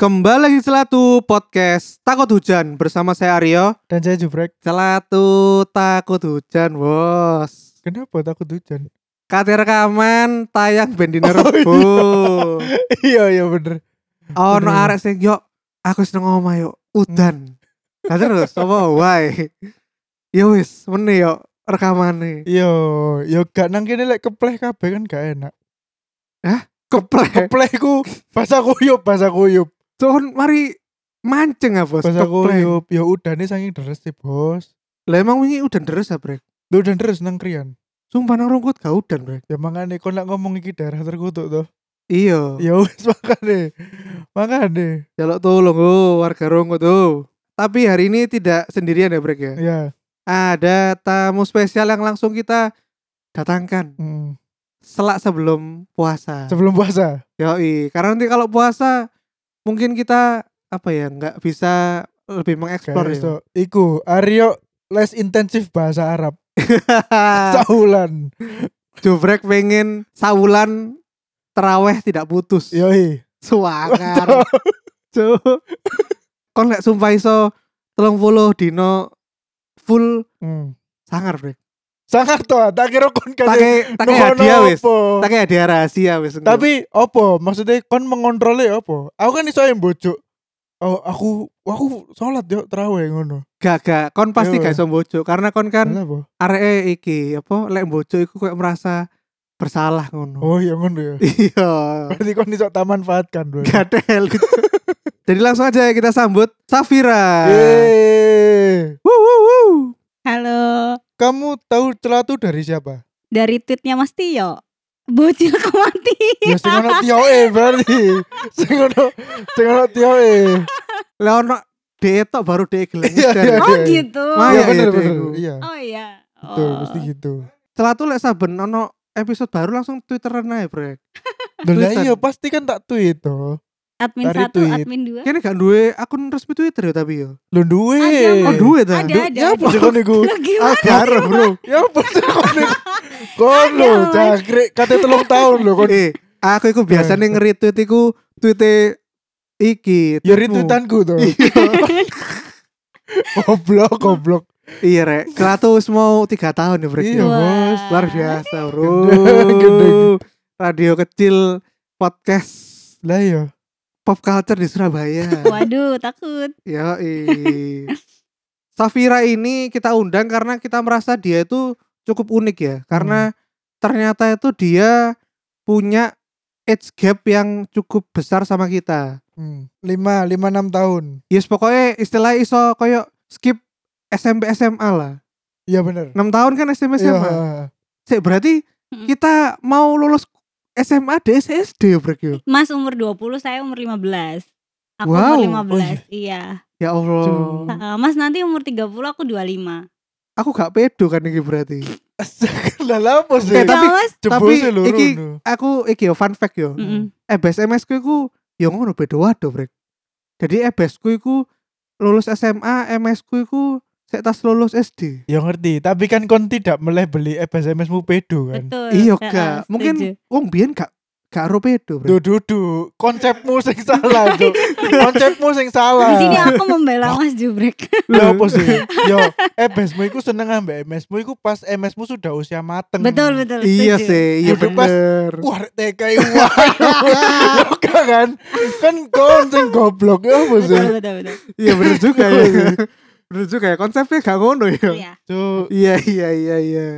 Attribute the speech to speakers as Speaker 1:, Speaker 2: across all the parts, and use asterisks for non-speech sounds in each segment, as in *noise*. Speaker 1: Kembali lagi di Celatu Podcast Takut Hujan bersama saya Aryo.
Speaker 2: Dan saya jubrek.
Speaker 1: Celatu Takut Hujan, bos.
Speaker 2: Kenapa takut hujan? *laughs*
Speaker 1: Kati rekaman tayang bendina
Speaker 2: Oh, iya.
Speaker 1: rebo.
Speaker 2: iya iya bener.
Speaker 1: Ono
Speaker 2: Aduh.
Speaker 1: arek sing yo aku seneng omah yo udan. Lah terus apa wae. Yo wis meni yo rekamane.
Speaker 2: Yo yo Iya, gak nang kene lek kepleh kabeh kan gak enak.
Speaker 1: Keplek.
Speaker 2: Kepleh ku bahasa kuyup bahasa kuyup.
Speaker 1: Tuhan mari mancing ah bos.
Speaker 2: Bahasa
Speaker 1: Keplek.
Speaker 2: kuyup. Yo udane saking deres sih, Bos.
Speaker 1: Lah emang wingi udan deres ya, Brek.
Speaker 2: Lu udan deres nang krian.
Speaker 1: Sumpah nang rungkut gak udan, Brek.
Speaker 2: Ya makane kon lek ngomong iki daerah terkutuk tuh.
Speaker 1: Iya.
Speaker 2: Ya wis *laughs* makane. Makane.
Speaker 1: Jaluk tolong oh, warga Rongo tuh. Tapi hari ini tidak sendirian ya Brek ya.
Speaker 2: Ya.
Speaker 1: Ada tamu spesial yang langsung kita datangkan
Speaker 2: mm.
Speaker 1: selak sebelum puasa.
Speaker 2: Sebelum puasa.
Speaker 1: Yoi, karena nanti kalau puasa mungkin kita apa ya nggak bisa lebih mengeksplor *laughs*
Speaker 2: Guys,
Speaker 1: ya.
Speaker 2: tuh. Iku Aryo les intensif bahasa Arab.
Speaker 1: Ah.
Speaker 2: Saulan.
Speaker 1: Jobrek pengen saulan teraweh tidak putus.
Speaker 2: Yoi.
Speaker 1: Suangar. Cuk. Kon lek sumpah iso 30 dino full
Speaker 2: Mm.
Speaker 1: sangar, Brek.
Speaker 2: Sangar tuh, tak kira kon kasih
Speaker 1: Take take
Speaker 2: Nuhono
Speaker 1: hadiah wis.
Speaker 2: apa?
Speaker 1: Take hadiah rahasia wis. engko.
Speaker 2: Tapi opo maksudnya kon mengontrolnya opo? Aku kan iso yang bojo. Oh, aku aku salat yo terawih ngono.
Speaker 1: gak gak kon pasti
Speaker 2: Yo.
Speaker 1: gak iso bojo karena kon kan
Speaker 2: Lha apa?
Speaker 1: areke iki apa lek bojo iku kayak merasa bersalah ngono.
Speaker 2: Oh, iya ngono ya. *laughs*
Speaker 1: Iya.
Speaker 2: Berarti kon iso taman manfaatkan bro.
Speaker 1: Gadel. Jadi langsung aja ya kita sambut Safira.
Speaker 2: Yeay.
Speaker 1: Wuh, wuh, wuh.
Speaker 3: Halo,
Speaker 2: Kamu tahu celatu dari siapa?
Speaker 3: dari tweetnya Mas Tio. Bocil mati.
Speaker 1: Iya,
Speaker 2: Ya sing
Speaker 1: kan
Speaker 2: ono tioe
Speaker 1: *laughs*
Speaker 2: berarti. Sing ono sing ono tioe.
Speaker 1: Leono dhewe tok baru E dhewe gelem.
Speaker 2: Iya, iya,
Speaker 3: oh
Speaker 2: iya.
Speaker 3: gitu.
Speaker 1: Ah,
Speaker 2: Iya
Speaker 1: iya,
Speaker 2: bener
Speaker 1: iya,
Speaker 2: bener.
Speaker 1: iya.
Speaker 2: Iya.
Speaker 3: Oh iya. Oh.
Speaker 2: Betul, mesti gitu.
Speaker 1: Celatu lek saben ono episode baru langsung Twitteran ae, Brek.
Speaker 2: Loh, lah
Speaker 1: Twitter.
Speaker 2: iya pasti kan tak tweet toh.
Speaker 3: Oh, admin
Speaker 2: Dari
Speaker 3: satu,
Speaker 2: tweet.
Speaker 3: admin dua.
Speaker 1: Kene gak duwe akun resmi Twitter ya tapi ya.
Speaker 2: Lu duwe.
Speaker 3: Ada,
Speaker 1: Oh, duwe ta?
Speaker 3: Ada,
Speaker 2: Duh,
Speaker 3: ada,
Speaker 2: Ya apa
Speaker 3: ada.
Speaker 2: sih kon iku?
Speaker 3: Lah, gimana?
Speaker 1: Agar, Bro.
Speaker 2: Ya apa sih kon iku? Kon lho
Speaker 3: Aduh.
Speaker 2: jangkrik kate telung tahun lho kon.
Speaker 1: eh, aku iku biasanya nge-retweet iku tweet iki.
Speaker 2: Ya
Speaker 1: tweetmu.
Speaker 2: retweetanku to.
Speaker 1: Iya.
Speaker 2: Goblok goblok.
Speaker 1: *laughs* Iya, Rek. 100 mau 3 tahun ya, Brek.
Speaker 2: Iya,
Speaker 3: Wah.
Speaker 2: Bos.
Speaker 1: Luar biasa, Bro.
Speaker 2: Gede, gede.
Speaker 1: Radio kecil podcast
Speaker 2: Lah ya.
Speaker 1: pop culture di Surabaya.
Speaker 3: Waduh, takut.
Speaker 1: ya, Safira ini kita undang karena kita merasa dia itu cukup unik ya.
Speaker 2: Hmm.
Speaker 1: Karena ternyata itu dia punya age gap yang cukup besar sama kita.
Speaker 2: Hmm. Lima, lima enam tahun.
Speaker 1: Yes pokoknya istilah iso koyo skip SMP SMA lah.
Speaker 2: Iya bener.
Speaker 1: 6 tahun kan SMP
Speaker 2: Iya.
Speaker 1: SMA. Sik, berarti
Speaker 3: Mm.
Speaker 1: kita mau lulus SMA DS SD Brek, yo.
Speaker 3: Mas umur 20, saya umur 15. Aku
Speaker 1: Wow.
Speaker 3: umur 15,
Speaker 2: Oh,
Speaker 3: iya.
Speaker 1: Ya Allah.
Speaker 2: Cuk.
Speaker 3: Uh, Mas nanti umur 30, aku 25.
Speaker 1: Aku gak pedo kan ini berarti.
Speaker 2: *laughs* Lah lah apa sih?
Speaker 1: Eh, tapi-
Speaker 3: Nah, Mas,
Speaker 2: Jebul
Speaker 1: tapi
Speaker 2: sih lho,
Speaker 1: iki-
Speaker 2: Runo.
Speaker 1: Aku iki yo fun fact yo. Eh,
Speaker 3: Mm-mm.
Speaker 1: EBS MS ku iku yo ngono bedo wado Brek. Jadi EBS ku iku lulus SMA, MS ku iku sek tas lulus SD.
Speaker 2: Ya ngerti, tapi kan kon tidak melebeli SMS mu pedo kan.
Speaker 3: betul.
Speaker 1: Iya
Speaker 3: Uh,
Speaker 1: gak. Mungkin
Speaker 3: setuju.
Speaker 1: wong biyen gak gak ro pedo Brek.
Speaker 2: Duh duh duh, konsepmu sing salah, Cuk. Konsepmu sing salah.
Speaker 3: di sini aku membela Mas Jubrek. *laughs*
Speaker 2: Lho apa sih? Ya, Yo, MS-mu iku seneng ambek MS-mu iku pas MS-mu sudah usia mateng.
Speaker 3: betul, betul.
Speaker 1: Iya
Speaker 3: setuju.
Speaker 1: sih, iya
Speaker 2: Kudu pas-
Speaker 1: bener.
Speaker 2: Wah, rek TK iku, wah. Yo gak kan? Kan kon sing goblok ya apa sih?
Speaker 3: Betul, betul, betul.
Speaker 1: Iya bener juga
Speaker 3: *laughs*
Speaker 1: ya. bener juga ya. Konsepnya gak ngono ya.
Speaker 3: Iya.
Speaker 2: Cuk.
Speaker 1: Iya iya iya iya.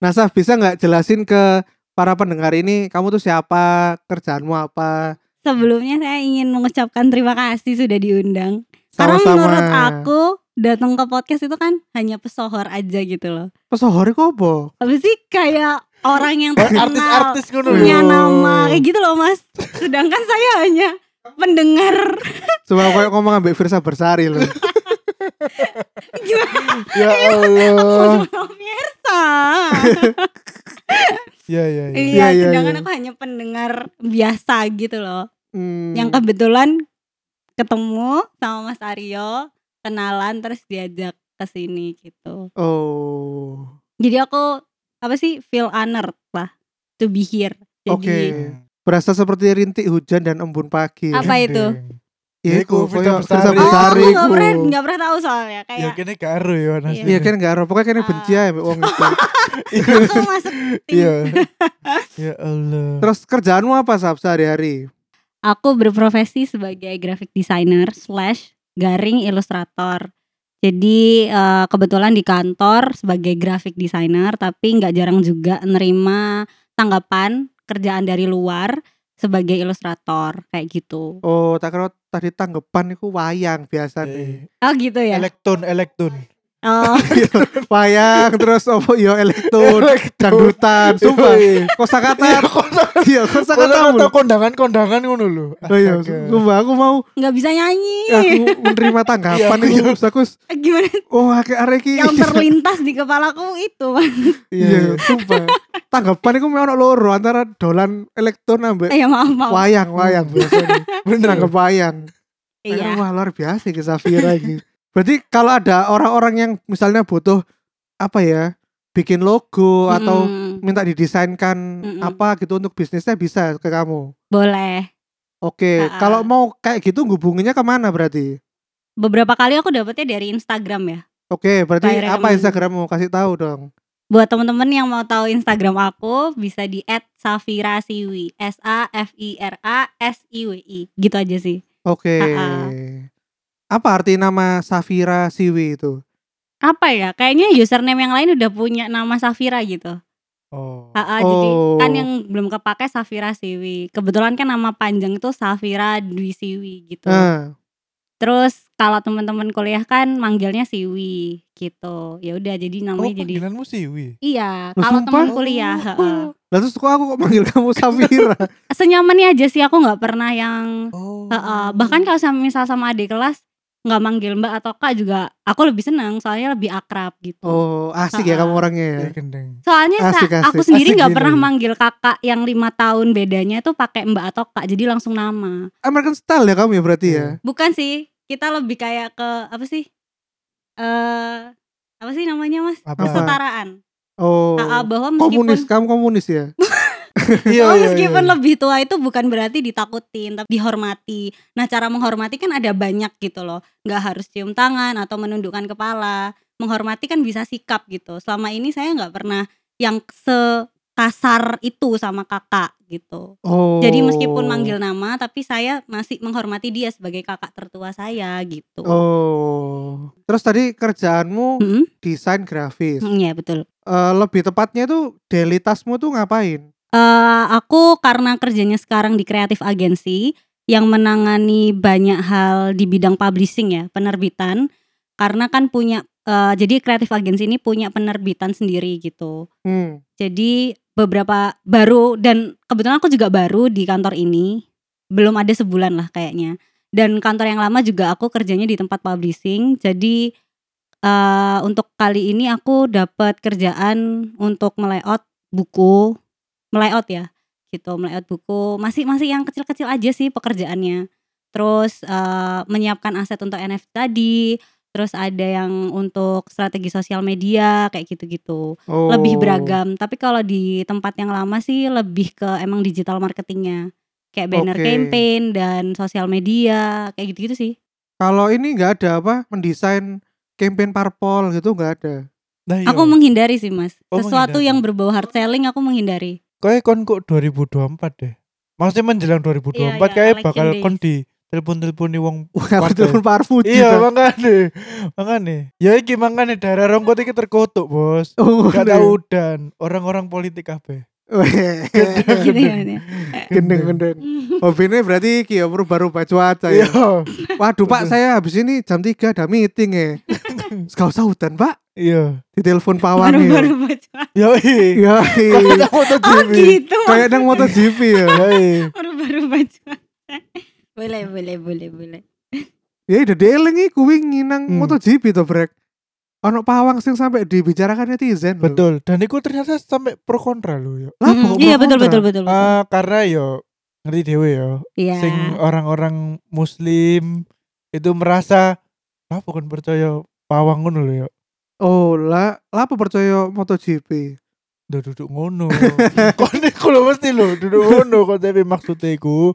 Speaker 1: Nah, Saf, bisa nggak jelasin ke para pendengar ini kamu tuh siapa, kerjaanmu apa?
Speaker 3: Sebelumnya saya ingin mengucapkan terima kasih sudah diundang. Karena
Speaker 1: Sama-sama.
Speaker 3: menurut aku datang ke podcast itu kan hanya pesohor aja gitu loh.
Speaker 1: Pesohor iku apa?
Speaker 3: Tapi sih kayak orang yang terkenal
Speaker 2: Artis-artis ngono lho. Ya
Speaker 3: punya nama *laughs* kayak gitu loh mas. Sedangkan saya hanya pendengar. *laughs*
Speaker 1: Coba kayak ngomong ambek Firsa Bersari loh.
Speaker 3: Gimana
Speaker 2: Ya
Speaker 1: Oh.
Speaker 2: Allah.
Speaker 1: *laughs*
Speaker 3: pemirsa?
Speaker 2: Ya ya ya.
Speaker 1: Iya,
Speaker 3: Iya,
Speaker 1: iya,
Speaker 3: sedangkan
Speaker 1: iya.
Speaker 3: aku hanya pendengar biasa gitu loh.
Speaker 1: Hmm.
Speaker 3: Yang kebetulan ketemu sama Mas Aryo, kenalan terus diajak ke sini gitu.
Speaker 1: Oh.
Speaker 3: Jadi aku apa sih feel honored lah to be here. Jadi
Speaker 1: Berasa seperti rintik hujan dan embun pagi.
Speaker 3: Apa itu?
Speaker 1: ya
Speaker 2: Iku,
Speaker 1: iku
Speaker 2: Vita
Speaker 1: koyo
Speaker 2: Besari.
Speaker 1: Firsa
Speaker 2: Oh,
Speaker 3: Oh,
Speaker 1: Besari
Speaker 3: aku nggak
Speaker 1: iku.
Speaker 3: pernah nggak pernah tahu soalnya
Speaker 2: ya
Speaker 3: kayak
Speaker 2: kene karo ya
Speaker 3: Iya.
Speaker 2: asli.
Speaker 1: Iya kan gak ero. Pokoknya kene
Speaker 3: Ah.
Speaker 1: benci ae mbek wong itu.
Speaker 3: *laughs* aku masuk tim.
Speaker 2: Iya. *laughs* Ya Allah.
Speaker 1: Terus kerjaanmu apa Sab sehari-hari?
Speaker 3: Aku berprofesi sebagai graphic designer slash garing ilustrator. Jadi eh, kebetulan di kantor sebagai graphic designer, tapi nggak jarang juga nerima tanggapan kerjaan dari luar sebagai ilustrator kayak gitu.
Speaker 1: Oh, tak kira tadi tanggapan iku wayang biasa *laughs* nih.
Speaker 2: Eh,
Speaker 3: Oh gitu ya.
Speaker 2: Elektron, elektron.
Speaker 3: Oh,
Speaker 1: Iya, wayang terus opo yo elektron, dangdutan, sumpah.
Speaker 2: Iya. Iya,
Speaker 1: Kosakata.
Speaker 2: kon-
Speaker 1: Iya, kosakata.
Speaker 2: Kata
Speaker 1: mulu.
Speaker 2: kondangan-kondangan ngono lho.
Speaker 1: Oh iya,
Speaker 2: Astaga.
Speaker 1: sumpah aku mau
Speaker 3: nggak bisa nyanyi.
Speaker 1: aku menerima tanggapan
Speaker 2: Iya,
Speaker 1: iku terus aku
Speaker 3: Gimana?
Speaker 1: oh akeh arek iki.
Speaker 3: Yang terlintas di kepalaku itu.
Speaker 2: Iya, iya.
Speaker 1: *laughs* Iya, sumpah. Tanggapan iku memang ono loro antara dolan elektron
Speaker 3: *laughs*
Speaker 1: ambek
Speaker 3: Eh ya maaf maaf.
Speaker 1: wayang, wayang
Speaker 2: Iya. *laughs*
Speaker 1: biasanya.
Speaker 2: Bener
Speaker 1: Nanggep wayang. Akhirnya,
Speaker 3: Iya.
Speaker 1: Wah luar biasa ke Safira gitu. Berarti kalau ada orang-orang yang misalnya butuh apa ya bikin logo atau
Speaker 3: Mm,
Speaker 1: minta didesainkan
Speaker 3: Mm-mm.
Speaker 1: apa gitu untuk bisnisnya bisa ke kamu.
Speaker 3: boleh.
Speaker 1: Oke,
Speaker 3: Ha-ha.
Speaker 1: kalau mau kayak gitu hubunginnya kemana berarti?
Speaker 3: Beberapa kali aku dapetnya dari Instagram ya.
Speaker 1: Oke, berarti
Speaker 3: By
Speaker 1: apa
Speaker 3: recommend.
Speaker 1: Instagrammu kasih tahu dong.
Speaker 3: Buat temen-temen yang mau tahu Instagram aku bisa di @safirasiwi. S A F I R A S I W I. Gitu aja sih.
Speaker 1: Oke.
Speaker 3: Ha-ha.
Speaker 1: Apa arti nama Safira Siwi itu?
Speaker 3: Apa ya? Kayaknya username yang lain udah punya nama Safira gitu.
Speaker 2: Oh.
Speaker 3: Ah, ah, Jadi
Speaker 1: Oh.
Speaker 3: kan yang belum kepake Safira Siwi. Kebetulan kan nama panjang itu Safira Dwi Siwi gitu.
Speaker 1: Nah,
Speaker 3: Terus kalau teman-teman kuliah kan manggilnya Siwi gitu. Ya udah jadi
Speaker 2: Oh,
Speaker 3: namanya jadi
Speaker 2: panggilanmu Siwi.
Speaker 3: Iya,
Speaker 1: Loh,
Speaker 3: kalau
Speaker 1: sumpah?
Speaker 3: teman kuliah.
Speaker 2: Oh.
Speaker 3: heeh.
Speaker 1: lah terus kok aku kok manggil kamu
Speaker 3: *laughs*
Speaker 1: Safira?
Speaker 3: Senyamannya aja sih aku nggak pernah yang
Speaker 2: Oh.
Speaker 3: heeh. bahkan kalau sama misal sama adik kelas nggak manggil Mbak atau Kak juga aku lebih senang soalnya lebih akrab gitu.
Speaker 1: Oh, asik ya
Speaker 3: Ha-ha.
Speaker 1: kamu orangnya ya.
Speaker 2: Ya,
Speaker 3: Iya.
Speaker 2: gendeng.
Speaker 3: *laughs* Soalnya sa-
Speaker 1: Asik, asik,
Speaker 3: aku sendiri
Speaker 1: asik
Speaker 3: nggak
Speaker 1: gitu.
Speaker 3: pernah manggil kakak yang lima tahun bedanya tuh pakai Mbak atau Kak jadi langsung nama.
Speaker 1: American style ya kamu ya berarti ya.
Speaker 3: Bukan sih, kita lebih kayak ke apa sih? Eh apa sih namanya Mas?
Speaker 1: Apa?
Speaker 2: Apa?
Speaker 3: Kesetaraan.
Speaker 1: Oh.
Speaker 3: Heeh, bahwa meskipun
Speaker 1: komunis kamu komunis ya
Speaker 2: Iya,
Speaker 3: Oh,
Speaker 2: iya,
Speaker 3: meskipun
Speaker 2: iya.
Speaker 3: lebih tua itu bukan berarti ditakutin, tapi dihormati. Nah, cara menghormati kan ada banyak gitu loh. Nggak harus cium tangan atau menundukkan kepala. Menghormati kan bisa sikap gitu. Selama ini saya nggak pernah yang sekasar itu sama kakak gitu.
Speaker 1: oh
Speaker 3: *laughs* Jadi meskipun manggil nama, tapi saya masih menghormati dia sebagai kakak tertua saya gitu.
Speaker 1: oh terus tadi
Speaker 2: Oh.
Speaker 1: kerjaanmu
Speaker 3: Mm-mm.
Speaker 1: desain grafis
Speaker 3: Mm, Iya betul.
Speaker 1: Eh, lebih tepatnya itu daily taskmu tuh ngapain
Speaker 3: Eh, aku karena kerjanya sekarang di kreatif agency yang menangani banyak hal di bidang publishing ya penerbitan karena kan punya eh, jadi kreatif agency ini punya penerbitan sendiri gitu
Speaker 1: hmm.
Speaker 3: jadi beberapa baru dan kebetulan aku juga baru di kantor ini belum ada sebulan lah kayaknya dan kantor yang lama juga aku kerjanya di tempat publishing jadi eh, untuk kali ini aku dapat kerjaan untuk melayout buku melayout ya gitu melayout buku masih masih yang kecil-kecil aja sih pekerjaannya terus eh, menyiapkan aset untuk NFT tadi terus ada yang untuk strategi sosial media kayak gitu-gitu
Speaker 1: oh.
Speaker 3: lebih beragam. Tapi kalau di tempat yang lama sih lebih ke emang digital marketingnya, kayak banner
Speaker 1: Oke.
Speaker 3: campaign dan sosial media kayak gitu-gitu sih.
Speaker 1: kalau ini nggak ada apa mendesain campaign parpol gitu nggak ada *laughs*
Speaker 2: Nah, iya.
Speaker 3: Aku menghindari sih mas,
Speaker 2: Oh,
Speaker 3: sesuatu
Speaker 2: menghindari.
Speaker 3: yang berbau hard selling aku menghindari.
Speaker 2: Kayaknya kon kok 2024 deh. Maksudnya menjelang 2024
Speaker 3: Iya, iya,
Speaker 2: kayak
Speaker 3: election
Speaker 2: bakal
Speaker 3: days.
Speaker 2: kon di telepon-telepon nih wong
Speaker 1: wah aku
Speaker 2: Partai.
Speaker 1: telepon parfuji
Speaker 2: Iya, makane. Makane. Ya iki makane daerah Rongkot iki terkutuk, Bos.
Speaker 1: *laughs* oh,
Speaker 2: Gak
Speaker 1: bener.
Speaker 2: tau udan, orang-orang politik kabeh.
Speaker 1: Weh,
Speaker 3: gitu ya. *laughs* Mas, ya.
Speaker 1: gendeng gendeng hobinya berarti iki ya merubah-rubah cuaca ya
Speaker 2: Iya. *laughs*
Speaker 1: waduh pak
Speaker 2: Bener.
Speaker 1: saya habis ini jam 3 ada meeting ya Gak usah hutan pak
Speaker 2: Iya.
Speaker 1: ditelepon Pak Wani ya.
Speaker 3: Baru-baru baca.
Speaker 2: Yo iki.
Speaker 1: Iya, iya.
Speaker 2: Kayak foto
Speaker 3: Oh
Speaker 2: TV.
Speaker 3: gitu.
Speaker 1: kayak nang MotoGP ya.
Speaker 2: Yo iki.
Speaker 3: Baru-baru baca. *laughs* boleh, boleh, boleh, boleh.
Speaker 1: Ya udah dieling iki kuwi nginang
Speaker 2: Hmm.
Speaker 1: MotoGP to, Brek. Ono pawang sing sampai dibicarakan netizen. lho.
Speaker 2: Betul. Dan itu ternyata sampai pro kontra loh ya.
Speaker 1: Lah,
Speaker 3: Mm,
Speaker 1: pokok
Speaker 3: iya
Speaker 1: pro
Speaker 3: betul,
Speaker 1: kontra.
Speaker 3: betul, betul, betul.
Speaker 2: Ah, karena yo ngerti dewe yo.
Speaker 1: Ya.
Speaker 3: Iya.
Speaker 2: Sing orang-orang muslim itu merasa lah bukan percaya pawang ngono loh ya.
Speaker 1: Oh, lah, lah apa percaya MotoGP?
Speaker 2: Udah duduk
Speaker 1: *laughs*
Speaker 2: ngono. Kon iku lho mesti lho duduk ngono kon tapi maksudnya iku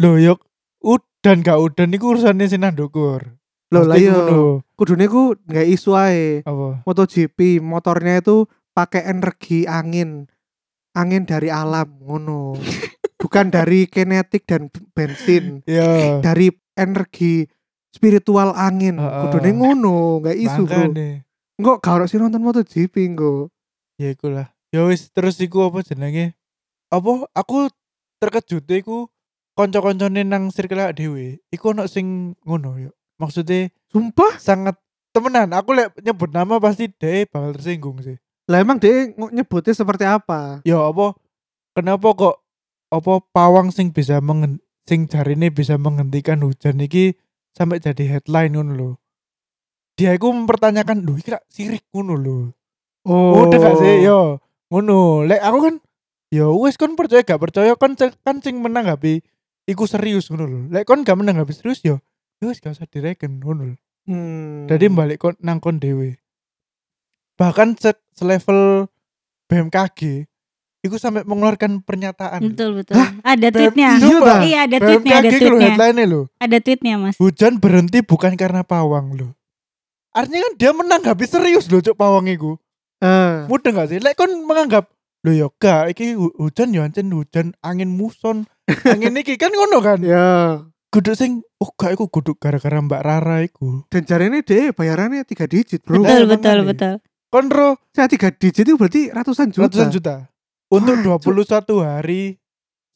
Speaker 2: lho yo ud- ya, udan gak udan niku urusannya sinan dukur.
Speaker 1: Loh lah iya.
Speaker 2: Mesti
Speaker 1: yo.
Speaker 2: ngono.
Speaker 1: Kudune ku nggak isu ae.
Speaker 2: Apa?
Speaker 1: MotoGP motornya itu pakai energi angin. Angin dari alam
Speaker 2: *laughs*
Speaker 1: ngono. Bukan dari kinetik dan b- bensin,
Speaker 2: Ya.
Speaker 1: dari energi spiritual angin.
Speaker 2: Heeh.
Speaker 1: Kudune ngono, nggak isu, Bro.
Speaker 2: makane.
Speaker 1: Engko gak ono sih nonton MotoGP engko.
Speaker 2: Ya iku lah. Ya wis terus iku apa jenenge? Apa aku terkejut iku kanca-kancane nang circle awake dhewe. Iku ono sing ngono yo. Maksudnya
Speaker 1: Sumpah?
Speaker 2: sangat temenan. Aku lek nyebut nama pasti deh bakal tersinggung sih.
Speaker 1: Lah emang dia ngo- nyebutnya seperti apa?
Speaker 2: Ya apa kenapa kok apa pawang sing bisa mengen sing jarine bisa menghentikan hujan iki sampai jadi headline ngono lho. Dia iku mempertanyakan, "Lho, iki rak sirik ngono lho." Oh, udah gak sih? Yo, ngono. Lek aku kan yo wis kon percaya gak percaya kon ce- kan sing menanggapi iku serius ngono lho. Lek kon gak menanggapi serius yo, yo wis gak usah direken ngono lho.
Speaker 1: Hmm.
Speaker 2: Jadi balik kon nang kon dhewe. Bahkan se selevel BMKG iku sampai mengeluarkan pernyataan.
Speaker 3: Betul betul. Ada tweetnya.
Speaker 2: Beb- Iya, Bang.
Speaker 3: Iya ada tweetnya, ada
Speaker 2: BMKG ku lho
Speaker 3: tweetnya,
Speaker 2: headline lho.
Speaker 3: ada tweetnya mas.
Speaker 2: Hujan berhenti bukan karena pawang lho. Artinya kan dia menanggapi serius lho cuk pawang iku.
Speaker 1: Eh,
Speaker 2: Mudeng gak sih? Lek kon menganggap lho ya gak iki hu- hujan ya ancen hujan angin muson. Angin iki kan ngono kan.
Speaker 1: *laughs* ya.
Speaker 2: Guduk sing oh gak iku guduk gara-gara Mbak Rara iku.
Speaker 1: Dan jarene deh bayarannya tiga digit, Bro.
Speaker 3: Betul
Speaker 2: Lah,
Speaker 3: betul
Speaker 2: makanya.
Speaker 3: betul.
Speaker 2: Kon ro
Speaker 1: Saya tiga digit itu berarti ratusan juta.
Speaker 2: ratusan juta untuk
Speaker 1: Wah,
Speaker 2: 21 hari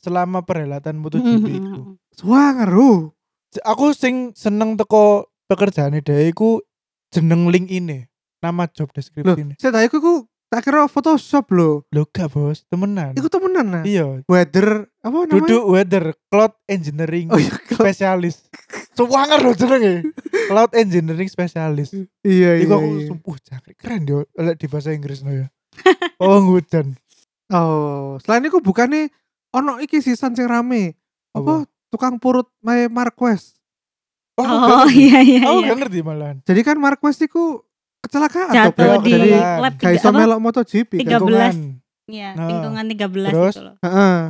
Speaker 2: selama perhelatan MotoGP iku.
Speaker 3: Mhm.
Speaker 1: Suwanger, oh.
Speaker 2: Se- Aku sing seneng teko pekerjaane dhewe iku jeneng link ini, nama job
Speaker 1: Loh,
Speaker 2: description.
Speaker 1: saya tahu iku tak kira Photoshop loh.
Speaker 2: Lho gak, Bos, temenan.
Speaker 1: Iku temenan nah.
Speaker 2: Hmm. Iya,
Speaker 1: Weather apa namanya?
Speaker 2: duduk weather cloud engineering *laughs*
Speaker 1: Oh iya, kalau-
Speaker 2: spesialis. Suwanger lho jenenge. Cloud engineering spesialis.
Speaker 1: iya iya.
Speaker 2: Iku aku
Speaker 1: iya.
Speaker 2: sumpuh jangkrik keren yo lek di bahasa Inggris no ya. Oh hujan.
Speaker 1: Oh, selain iku bukannya ono iki season sing rame. Apa, tukang purut Mae Marquez.
Speaker 2: Wah, aku gak
Speaker 3: Oh
Speaker 2: ngerti.
Speaker 3: iya iya
Speaker 2: Aku
Speaker 3: iya.
Speaker 2: gak ngerti malahan.
Speaker 1: Jadi kan Marquez iku kecelakaan toh,
Speaker 3: Jatuh
Speaker 1: Bro.
Speaker 2: Bel,
Speaker 3: di
Speaker 1: ya. Jadi
Speaker 2: kedengeran.
Speaker 3: lab
Speaker 1: gak
Speaker 3: tiga-
Speaker 1: iso
Speaker 3: apa?
Speaker 1: melok MotoGP kan.
Speaker 3: Tiga- 13.
Speaker 2: Lingkungan.
Speaker 3: Iya,
Speaker 2: Nah.
Speaker 3: lingkungan 13
Speaker 2: Terus?
Speaker 3: gitu loh.
Speaker 1: Heeh.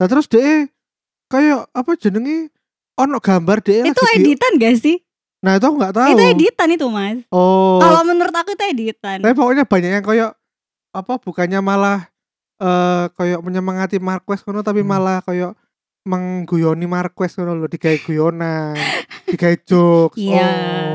Speaker 1: Nah terus deh kayak apa jenenge ono gambar deh
Speaker 3: Itu editan gak sih?
Speaker 1: Nah itu aku nggak Ya, tahu.
Speaker 3: Itu editan itu mas.
Speaker 1: Oh.
Speaker 3: Kalau menurut aku itu editan.
Speaker 1: Tapi pokoknya banyak yang koyok apa bukannya malah eh koyok menyemangati Marquez kono tapi
Speaker 2: Hmm.
Speaker 1: malah koyok mengguyoni Marquez kono lho digawe
Speaker 3: *laughs*
Speaker 1: guyonan, digawe jokes.
Speaker 3: Iya.